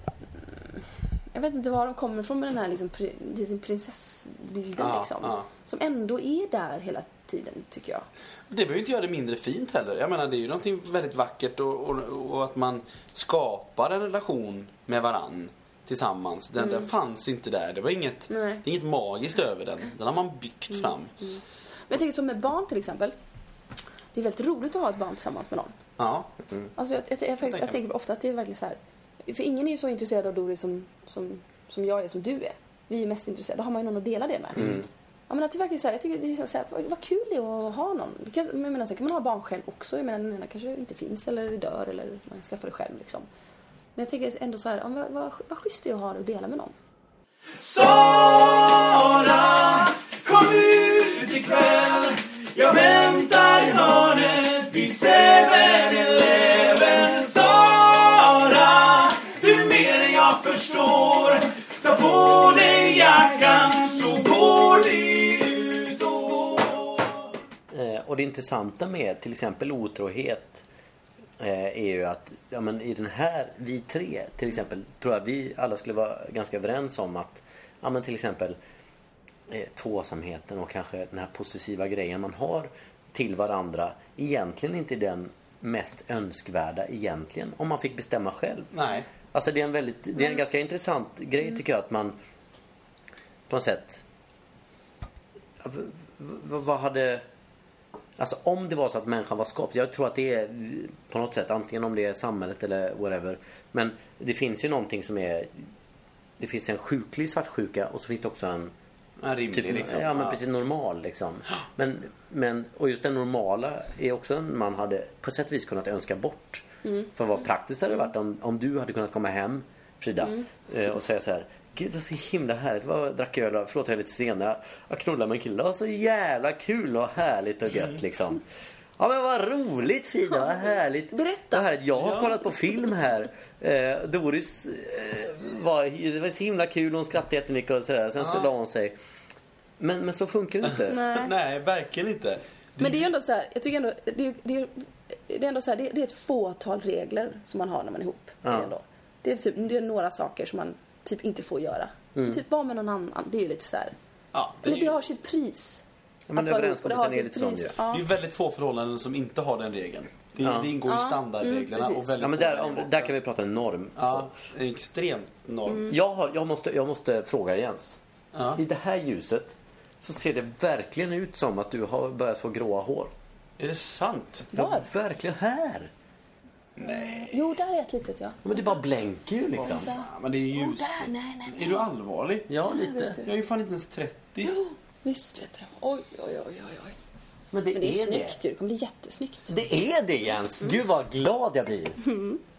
[SPEAKER 5] mm, jag vet inte var de kommer från med den här liksom, pri, liten prinsessbilden
[SPEAKER 3] Ja,
[SPEAKER 5] liksom.
[SPEAKER 3] ja.
[SPEAKER 5] Som ändå är där hela tiden tycker jag.
[SPEAKER 3] Det behöver inte göra det mindre fint heller. Jag menar det är ju någonting väldigt vackert och, och, och att man skapar en relation med varann tillsammans. Den, den fanns inte där. Det var inget,
[SPEAKER 5] Mm. Nej. Mm.
[SPEAKER 3] inget magiskt över den. Den har man byggt fram.
[SPEAKER 5] Men jag tänker som med barn till exempel. Det är väldigt roligt att ha ett barn tillsammans med någon.
[SPEAKER 3] Ja.
[SPEAKER 5] Alltså jag, jag, jag, jag, faktiskt, jag tänker ofta att det är verkligen så här. För ingen är ju så intresserad av Doris som, som, som jag är, som du är. Vi är ju mest intresserade. Då har man ju någon att dela det med. Ja, men att det verkligen är så här, jag tycker det känns så här, vad, vad kul det är att ha någon. Det kan, men jag menar, sen kan man ha barn själv också. Jag menar, den ena kanske inte finns eller dör eller man skaffar det själv liksom. Men jag tänker ändå så här, ja, men vad, vad, vad schysst det är att ha det och dela med någon.
[SPEAKER 1] Sara, kom ut ikväll Jag väntar i hörnet vid 7-Eleven Sara, du är mer än jag förstår Ta på dig jackan så går vi ut och går
[SPEAKER 2] Eh, Och det intressanta med till exempel otrohet eh, är ju att ja, men i den här, vi tre till exempel, tror jag vi alla skulle vara ganska överens om att ja, men till exempel eh, tvåsamheten och kanske den här possessiva grejen man har till varandra egentligen inte är den mest önskvärda egentligen om man fick bestämma själv.
[SPEAKER 3] Nej.
[SPEAKER 2] Alltså det är en, väldigt, det är en ganska intressant grej tycker jag att man på något sätt v, v, vad hade Alltså om det var så att människan var skapt. Jag tror att det är på något sätt antingen om det är samhället eller whatever. Men det finns ju någonting som är Det finns en sjuklig svartsjuka och så finns det också en
[SPEAKER 3] En rimlig
[SPEAKER 2] typ,
[SPEAKER 3] liksom.
[SPEAKER 2] ja, men precis normal liksom. Men, men, och just den normala är också en man hade på sätt och vis kunnat önska bort. För vad praktiskt hade det varit om, om du hade kunnat komma hem Frida eh, och säga så här. Gud vad så himla härligt, vad drack öl och- förlåt jag är lite sen. Jag- Jag knullade med en kille, det var så jävla kul och härligt och gött liksom. Ja men vad roligt Frida, vad härligt.
[SPEAKER 5] Berätta.
[SPEAKER 2] Vad härligt. Jag har kollat på film här. Eh, Doris eh, var, det var så himla kul, hon skrattade jättemycket och sådär. Sen så la hon sig. Men, men så funkar det inte.
[SPEAKER 3] Nej, verkligen inte.
[SPEAKER 5] Men det är ju ändå så här, jag tycker ändå, det är, det är det är ändå så här, det, det är ett fåtal regler som man har när man är ihop.
[SPEAKER 2] Ja.
[SPEAKER 5] Är det, ändå. det, är typ, det är några saker som man typ inte får göra. Typ vara med någon annan, det är ju lite så här.
[SPEAKER 3] Ja, det, är
[SPEAKER 5] Eller det
[SPEAKER 3] ju,
[SPEAKER 5] har sitt pris.
[SPEAKER 2] Ja, men
[SPEAKER 5] att vara ihop,
[SPEAKER 2] överenskommelsen
[SPEAKER 5] det
[SPEAKER 2] är
[SPEAKER 5] har sitt
[SPEAKER 2] lite sån
[SPEAKER 5] pris.
[SPEAKER 2] ju.
[SPEAKER 5] Ja. Mm,
[SPEAKER 3] det är ju väldigt få förhållanden som inte har den regeln. Det,
[SPEAKER 2] Ja.
[SPEAKER 3] det ingår i standardreglerna.
[SPEAKER 5] precis.
[SPEAKER 3] och väldigt
[SPEAKER 2] Ja, men
[SPEAKER 3] få
[SPEAKER 2] där,
[SPEAKER 3] regler.
[SPEAKER 2] om, där kan vi prata en norm.
[SPEAKER 3] Ja, det är extremt norm.
[SPEAKER 5] Mm.
[SPEAKER 2] Så. Jag, har, jag, måste, jag måste fråga Jens.
[SPEAKER 3] Ja.
[SPEAKER 2] I det här ljuset så ser det verkligen ut som att du har börjat få gråa hår.
[SPEAKER 3] Är det sant?
[SPEAKER 2] Ja, verkligen här.
[SPEAKER 5] Jo, där är ett litet ja.
[SPEAKER 2] Ja, men det bara blänker ju liksom.
[SPEAKER 3] Fan, men det är ju ljus.
[SPEAKER 5] Där, nej, nej, nej.
[SPEAKER 3] Är du allvarlig?
[SPEAKER 2] Ja, lite.
[SPEAKER 5] vet du.
[SPEAKER 3] Jag är ju fan inte ens 30.
[SPEAKER 5] Visst vet jag. Oj, oj, oj, oj, oj.
[SPEAKER 2] Men det,
[SPEAKER 5] Men det Mm. är,
[SPEAKER 2] är
[SPEAKER 5] snyggt Mm.
[SPEAKER 2] det.
[SPEAKER 5] ju. Det kommer bli jättesnyggt.
[SPEAKER 2] Det är det Jens! Gud vad glad jag blir.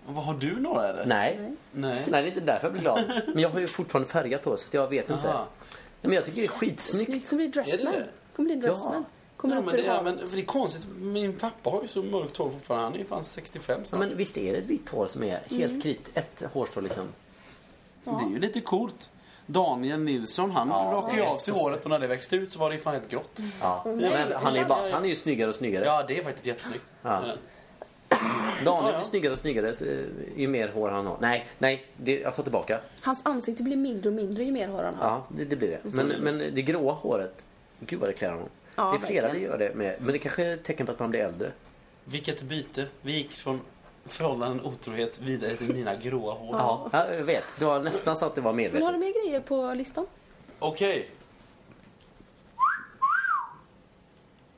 [SPEAKER 3] Vad Har du några eller?
[SPEAKER 2] Nej.
[SPEAKER 3] Nej.
[SPEAKER 2] Nej, det är inte därför jag blir glad. Men jag har ju fortfarande färgat hår så att jag vet inte.
[SPEAKER 3] Aha.
[SPEAKER 2] Nej, men jag tycker det är skitsnyggt.
[SPEAKER 5] Det kommer bli dressman.
[SPEAKER 3] Är det det?
[SPEAKER 5] kommer bli dressman. Kommer
[SPEAKER 3] Ja,
[SPEAKER 5] upp
[SPEAKER 3] men
[SPEAKER 5] ur
[SPEAKER 3] det, är,
[SPEAKER 5] havet.
[SPEAKER 3] men det är konstigt. Min pappa har ju så mörkt hår fortfarande. Han är ju fan 65
[SPEAKER 2] Ja,
[SPEAKER 3] snart.
[SPEAKER 2] men visst är det ett vitt hår som är helt
[SPEAKER 5] Mm.
[SPEAKER 2] krit, ett hårstrå liksom.
[SPEAKER 3] Det är ju lite coolt. Daniel Nilsson, han
[SPEAKER 2] Ja,
[SPEAKER 3] rakade ju av sig
[SPEAKER 2] Jesus.
[SPEAKER 3] håret och när det växte ut så var det ju fan helt grått.
[SPEAKER 2] Ja.
[SPEAKER 5] nej,
[SPEAKER 2] men han, är ju bara, han är ju snyggare och snyggare.
[SPEAKER 3] Ja, det är faktiskt jättesnyggt.
[SPEAKER 2] Ja.
[SPEAKER 3] Ja.
[SPEAKER 2] Daniel
[SPEAKER 3] Ja,
[SPEAKER 2] blir
[SPEAKER 3] ja.
[SPEAKER 2] snyggare och snyggare eh, ju mer hår han har. Nej, nej, det, jag tar tillbaka.
[SPEAKER 5] Hans ansikte blir mindre och mindre ju mer hår han har.
[SPEAKER 2] Ja, det, det blir det. Men, men det gråa håret, gud vad det klär honom.
[SPEAKER 5] Ja,
[SPEAKER 2] det är flera det
[SPEAKER 5] verkligen.
[SPEAKER 2] gör det med. Men det kanske är ett tecken på att man blir äldre.
[SPEAKER 3] Vilket byte. Vi gick från förhållanden otrohet vidare till mina gråa hår.
[SPEAKER 2] Ja, jag vet. Det var nästan så att det var
[SPEAKER 5] Men har du
[SPEAKER 2] medvetet.
[SPEAKER 5] mer grejer på listan?
[SPEAKER 3] Okej.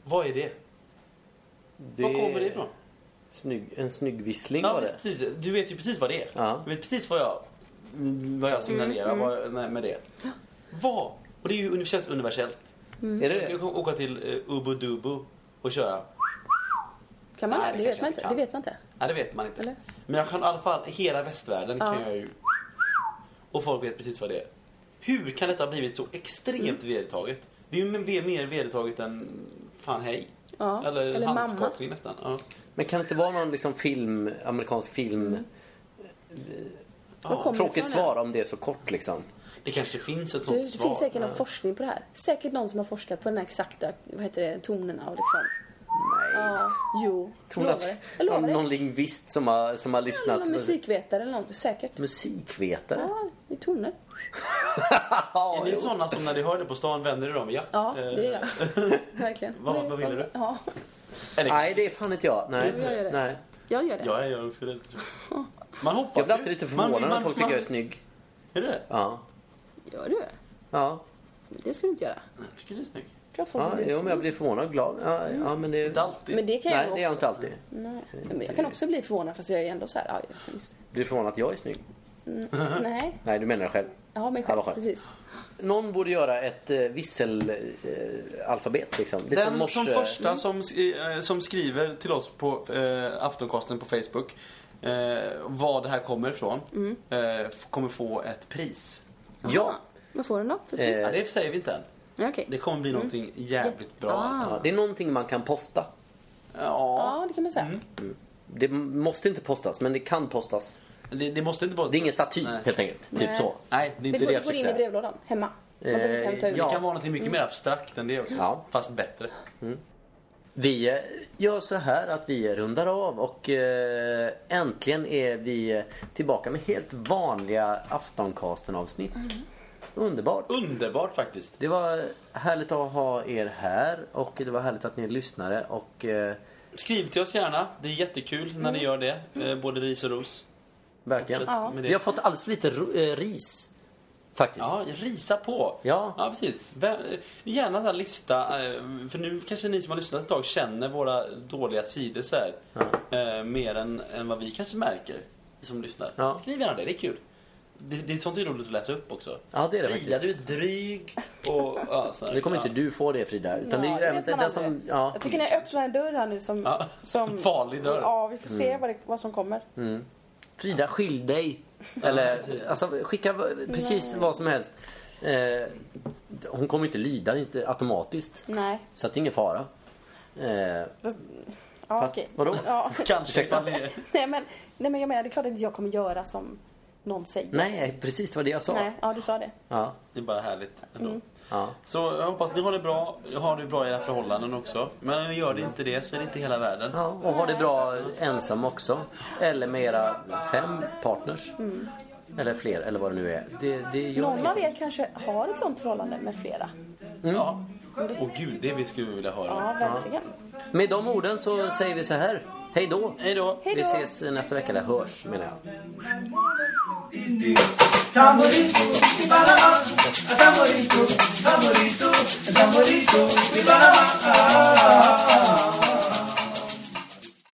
[SPEAKER 3] Vad är det?
[SPEAKER 2] Det
[SPEAKER 3] Var kommer det ifrån?
[SPEAKER 2] Snygg, en snygg vissling
[SPEAKER 3] Ja,
[SPEAKER 2] var det.
[SPEAKER 3] precis. Du vet ju precis vad det är.
[SPEAKER 2] Ja.
[SPEAKER 3] Du vet precis vad jag, vad jag signalerar
[SPEAKER 5] Mm.
[SPEAKER 3] vad, nej, med det. Vad? Och det är ju universellt. universellt.
[SPEAKER 5] Mm.
[SPEAKER 2] Är det
[SPEAKER 3] Jag
[SPEAKER 2] det?
[SPEAKER 3] kan åka till uh, Ubu-Dubu och köra.
[SPEAKER 5] Kan man
[SPEAKER 3] Nej, det
[SPEAKER 5] det? Det vet
[SPEAKER 3] kanske jag inte
[SPEAKER 5] man inte.
[SPEAKER 3] kan.
[SPEAKER 5] Det vet man inte.
[SPEAKER 3] Nej, det vet man inte.
[SPEAKER 5] Eller?
[SPEAKER 3] Men jag kan i alla fall, hela västvärlden kan
[SPEAKER 5] Ja.
[SPEAKER 3] jag ju... Och folk vet precis vad det är. Hur kan detta ha blivit så
[SPEAKER 5] Mm.
[SPEAKER 3] extremt vedertaget? Det är ju mer- mer vedertaget än fan hej.
[SPEAKER 5] Ja,
[SPEAKER 3] Eller,
[SPEAKER 5] eller mamma.
[SPEAKER 3] handskakning nästan. Ja.
[SPEAKER 2] Men kan det inte vara någon liksom film, amerikansk film?
[SPEAKER 5] Mm. Var kommer det
[SPEAKER 2] Tråkigt
[SPEAKER 5] ifrån,
[SPEAKER 2] svar om det är så kort liksom.
[SPEAKER 3] Det kanske finns ett
[SPEAKER 5] Du,
[SPEAKER 3] sånt
[SPEAKER 5] det
[SPEAKER 3] svar.
[SPEAKER 5] finns säkert någon forskning på det här. Säkert någon som har forskat på den här exakta, vad heter det, tonerna och liksom.
[SPEAKER 2] Nej.
[SPEAKER 5] Ja, jo.
[SPEAKER 2] Tror ni
[SPEAKER 5] lovar det. Jag
[SPEAKER 2] att
[SPEAKER 5] lovar
[SPEAKER 2] någon,
[SPEAKER 5] det.
[SPEAKER 2] någon lingvist som har, som har
[SPEAKER 5] Eller
[SPEAKER 2] lyssnat?
[SPEAKER 5] någon musikvetare eller något. Säkert.
[SPEAKER 2] Musikvetare?
[SPEAKER 5] Ja, i toner.
[SPEAKER 2] Ja,
[SPEAKER 3] Är ni
[SPEAKER 2] jo.
[SPEAKER 3] sådana som när ni hör det på stan vänder er om? Ja.
[SPEAKER 5] Ja,
[SPEAKER 3] Eh,
[SPEAKER 5] det gör jag. Verkligen.
[SPEAKER 3] vad- vad ville du?
[SPEAKER 5] Ja,
[SPEAKER 3] Eller,
[SPEAKER 2] Nej, det är fan inte jag. Nej.
[SPEAKER 5] Jo, jag gör det.
[SPEAKER 2] Nej.
[SPEAKER 5] jag gör det.
[SPEAKER 3] Ja, jag gör också det. tror jag. Man hoppas
[SPEAKER 2] Jag blir
[SPEAKER 3] ju.
[SPEAKER 2] alltid lite
[SPEAKER 3] Man-
[SPEAKER 2] förvånad när
[SPEAKER 3] man-
[SPEAKER 2] folk
[SPEAKER 3] man-
[SPEAKER 2] tycker jag är snygg.
[SPEAKER 3] Är du det?
[SPEAKER 2] Ja.
[SPEAKER 5] Gör du?
[SPEAKER 2] Ja,
[SPEAKER 5] Det ska du inte göra.
[SPEAKER 3] Jag tycker du är snygg.
[SPEAKER 5] Klart folk
[SPEAKER 2] ja
[SPEAKER 5] tycker du är
[SPEAKER 2] jo, men jag blir förvånad och glad. Ja, ja, men det...
[SPEAKER 3] Inte alltid.
[SPEAKER 5] Men det kan
[SPEAKER 2] Nej,
[SPEAKER 5] jag
[SPEAKER 2] det är jag
[SPEAKER 5] också.
[SPEAKER 2] inte alltid.
[SPEAKER 5] Nej. Men jag kan också bli förvånad fast jag är ändå så här, ja visst.
[SPEAKER 2] Blir förvånad att jag är snygg?
[SPEAKER 5] Nej,
[SPEAKER 2] Nej, du menar jag själv.
[SPEAKER 5] jag har mig
[SPEAKER 2] Ja,
[SPEAKER 5] själv.
[SPEAKER 2] vad skönt.
[SPEAKER 5] Precis.
[SPEAKER 2] Någon borde göra ett eh, visselalfabet eh, alfabet, liksom. Lite
[SPEAKER 3] Den
[SPEAKER 2] morse...
[SPEAKER 3] som första som, sk- eh, som skriver till oss på eh, Aftonkasten på Facebook eh, var det här kommer ifrån
[SPEAKER 5] Mm.
[SPEAKER 3] eh, f- kommer få ett pris.
[SPEAKER 2] Ja.
[SPEAKER 5] Vad får den då för
[SPEAKER 2] Eh,
[SPEAKER 5] pris?
[SPEAKER 3] Ja, det säger vi inte än.
[SPEAKER 5] Ja, Okej.
[SPEAKER 3] Det kommer bli någonting jävligt bra.
[SPEAKER 5] Ah.
[SPEAKER 2] ja. Det är någonting man kan posta.
[SPEAKER 3] Ja.
[SPEAKER 5] Ja, det kan man säga.
[SPEAKER 2] Mm. Det m- måste inte postas, men det kan postas.
[SPEAKER 3] Det, det måste inte vara...
[SPEAKER 2] Det är ingen staty,
[SPEAKER 3] Nej.
[SPEAKER 2] helt enkelt. Typ
[SPEAKER 5] Nej.
[SPEAKER 2] så.
[SPEAKER 3] Nej, det är
[SPEAKER 5] Det,
[SPEAKER 3] inte
[SPEAKER 5] går,
[SPEAKER 3] det
[SPEAKER 5] det
[SPEAKER 3] jag
[SPEAKER 5] går
[SPEAKER 3] försöker
[SPEAKER 5] in i Mm.
[SPEAKER 3] säga.
[SPEAKER 5] brevlådan hemma. Man behöver inte hämta
[SPEAKER 2] Eh,
[SPEAKER 5] ut.
[SPEAKER 3] Det
[SPEAKER 2] ja.
[SPEAKER 3] kan vara något mycket mer abstrakt än det också.
[SPEAKER 2] Ja.
[SPEAKER 3] Fast bättre.
[SPEAKER 2] Vi eh, gör så här att vi rundar av och eh, äntligen är vi tillbaka med helt vanliga Aftoncasten-avsnitt.
[SPEAKER 4] Mm.
[SPEAKER 2] Underbart!
[SPEAKER 3] Underbart faktiskt.
[SPEAKER 2] Det var härligt att ha er här och det var härligt att ni är lyssnare och eh,
[SPEAKER 3] Skriv till oss gärna. Det är jättekul när
[SPEAKER 2] Mm.
[SPEAKER 3] ni gör det. Eh, Både ris och ros.
[SPEAKER 2] verkligen.
[SPEAKER 3] Ja.
[SPEAKER 2] Vi har fått alldeles för lite ro- eh, ris faktiskt.
[SPEAKER 3] Ja, risa på.
[SPEAKER 2] Ja.
[SPEAKER 3] ja precis. Vem- eh, Gärna så här lista, eh, för nu kanske ni som har lyssnat ett tag känner våra dåliga sidor så här. Eh, mer än, än vad vi kanske märker som lyssnar.
[SPEAKER 2] Ja.
[SPEAKER 3] Skriv gärna det, det är kul. Det, det är sånt är roligt att läsa upp också.
[SPEAKER 2] Ja, det är det
[SPEAKER 3] Frida,
[SPEAKER 2] faktiskt.
[SPEAKER 3] du är dryg och ja, så här,
[SPEAKER 2] Nu kommer
[SPEAKER 3] ja.
[SPEAKER 2] inte du få det Frida. Utan
[SPEAKER 4] Ja,
[SPEAKER 2] det är
[SPEAKER 4] det vet
[SPEAKER 2] den,
[SPEAKER 4] man
[SPEAKER 2] den som,
[SPEAKER 4] aldrig.
[SPEAKER 2] ja.
[SPEAKER 4] Jag tycker ni öppnar en dörr här nu som...
[SPEAKER 3] Ja.
[SPEAKER 4] som
[SPEAKER 3] Farlig dörr.
[SPEAKER 4] Ja, vi får se vad, det, vad som kommer.
[SPEAKER 2] Frida, skilj dig. Eller alltså, skicka v- precis vad som helst. Eh, hon kommer inte lyda inte automatiskt.
[SPEAKER 4] Nej.
[SPEAKER 2] Så att det är ingen fara. Eh,
[SPEAKER 4] Fast- Ja,
[SPEAKER 2] Fast,
[SPEAKER 4] okej.
[SPEAKER 2] vadå?
[SPEAKER 4] Ja.
[SPEAKER 3] Kanske.
[SPEAKER 2] Ursäkta.
[SPEAKER 3] Ursäkta.
[SPEAKER 4] nej, men, nej men jag menar, det är klart att jag kommer göra som
[SPEAKER 5] någon säger.
[SPEAKER 2] Nej, precis det var det jag sa.
[SPEAKER 5] Nej, ja du sa det.
[SPEAKER 2] Ja,
[SPEAKER 3] Det är bara härligt ändå.
[SPEAKER 2] ja.
[SPEAKER 3] Så jag hoppas ni har det bra. Har det bra i era förhållanden också. Men gör det inte det så är det inte hela världen.
[SPEAKER 2] ja. Och ha det bra ensam också. Eller med era fem partners. Eller fler, eller vad det nu är. Det, det gör
[SPEAKER 5] Mm. Någon
[SPEAKER 2] inget.
[SPEAKER 5] av er kanske har ett sånt förhållande med flera.
[SPEAKER 3] Ja. Åh gud, det vi skulle vilja höra.
[SPEAKER 5] Ja, verkligen.
[SPEAKER 2] Med de orden så säger vi så här. Hej då!
[SPEAKER 3] Hej då.
[SPEAKER 5] Hej
[SPEAKER 2] Vi
[SPEAKER 5] då.
[SPEAKER 2] ses nästa vecka, eller hörs menar jag.
[SPEAKER 1] Tambourito, balala, tambourito, tambourito.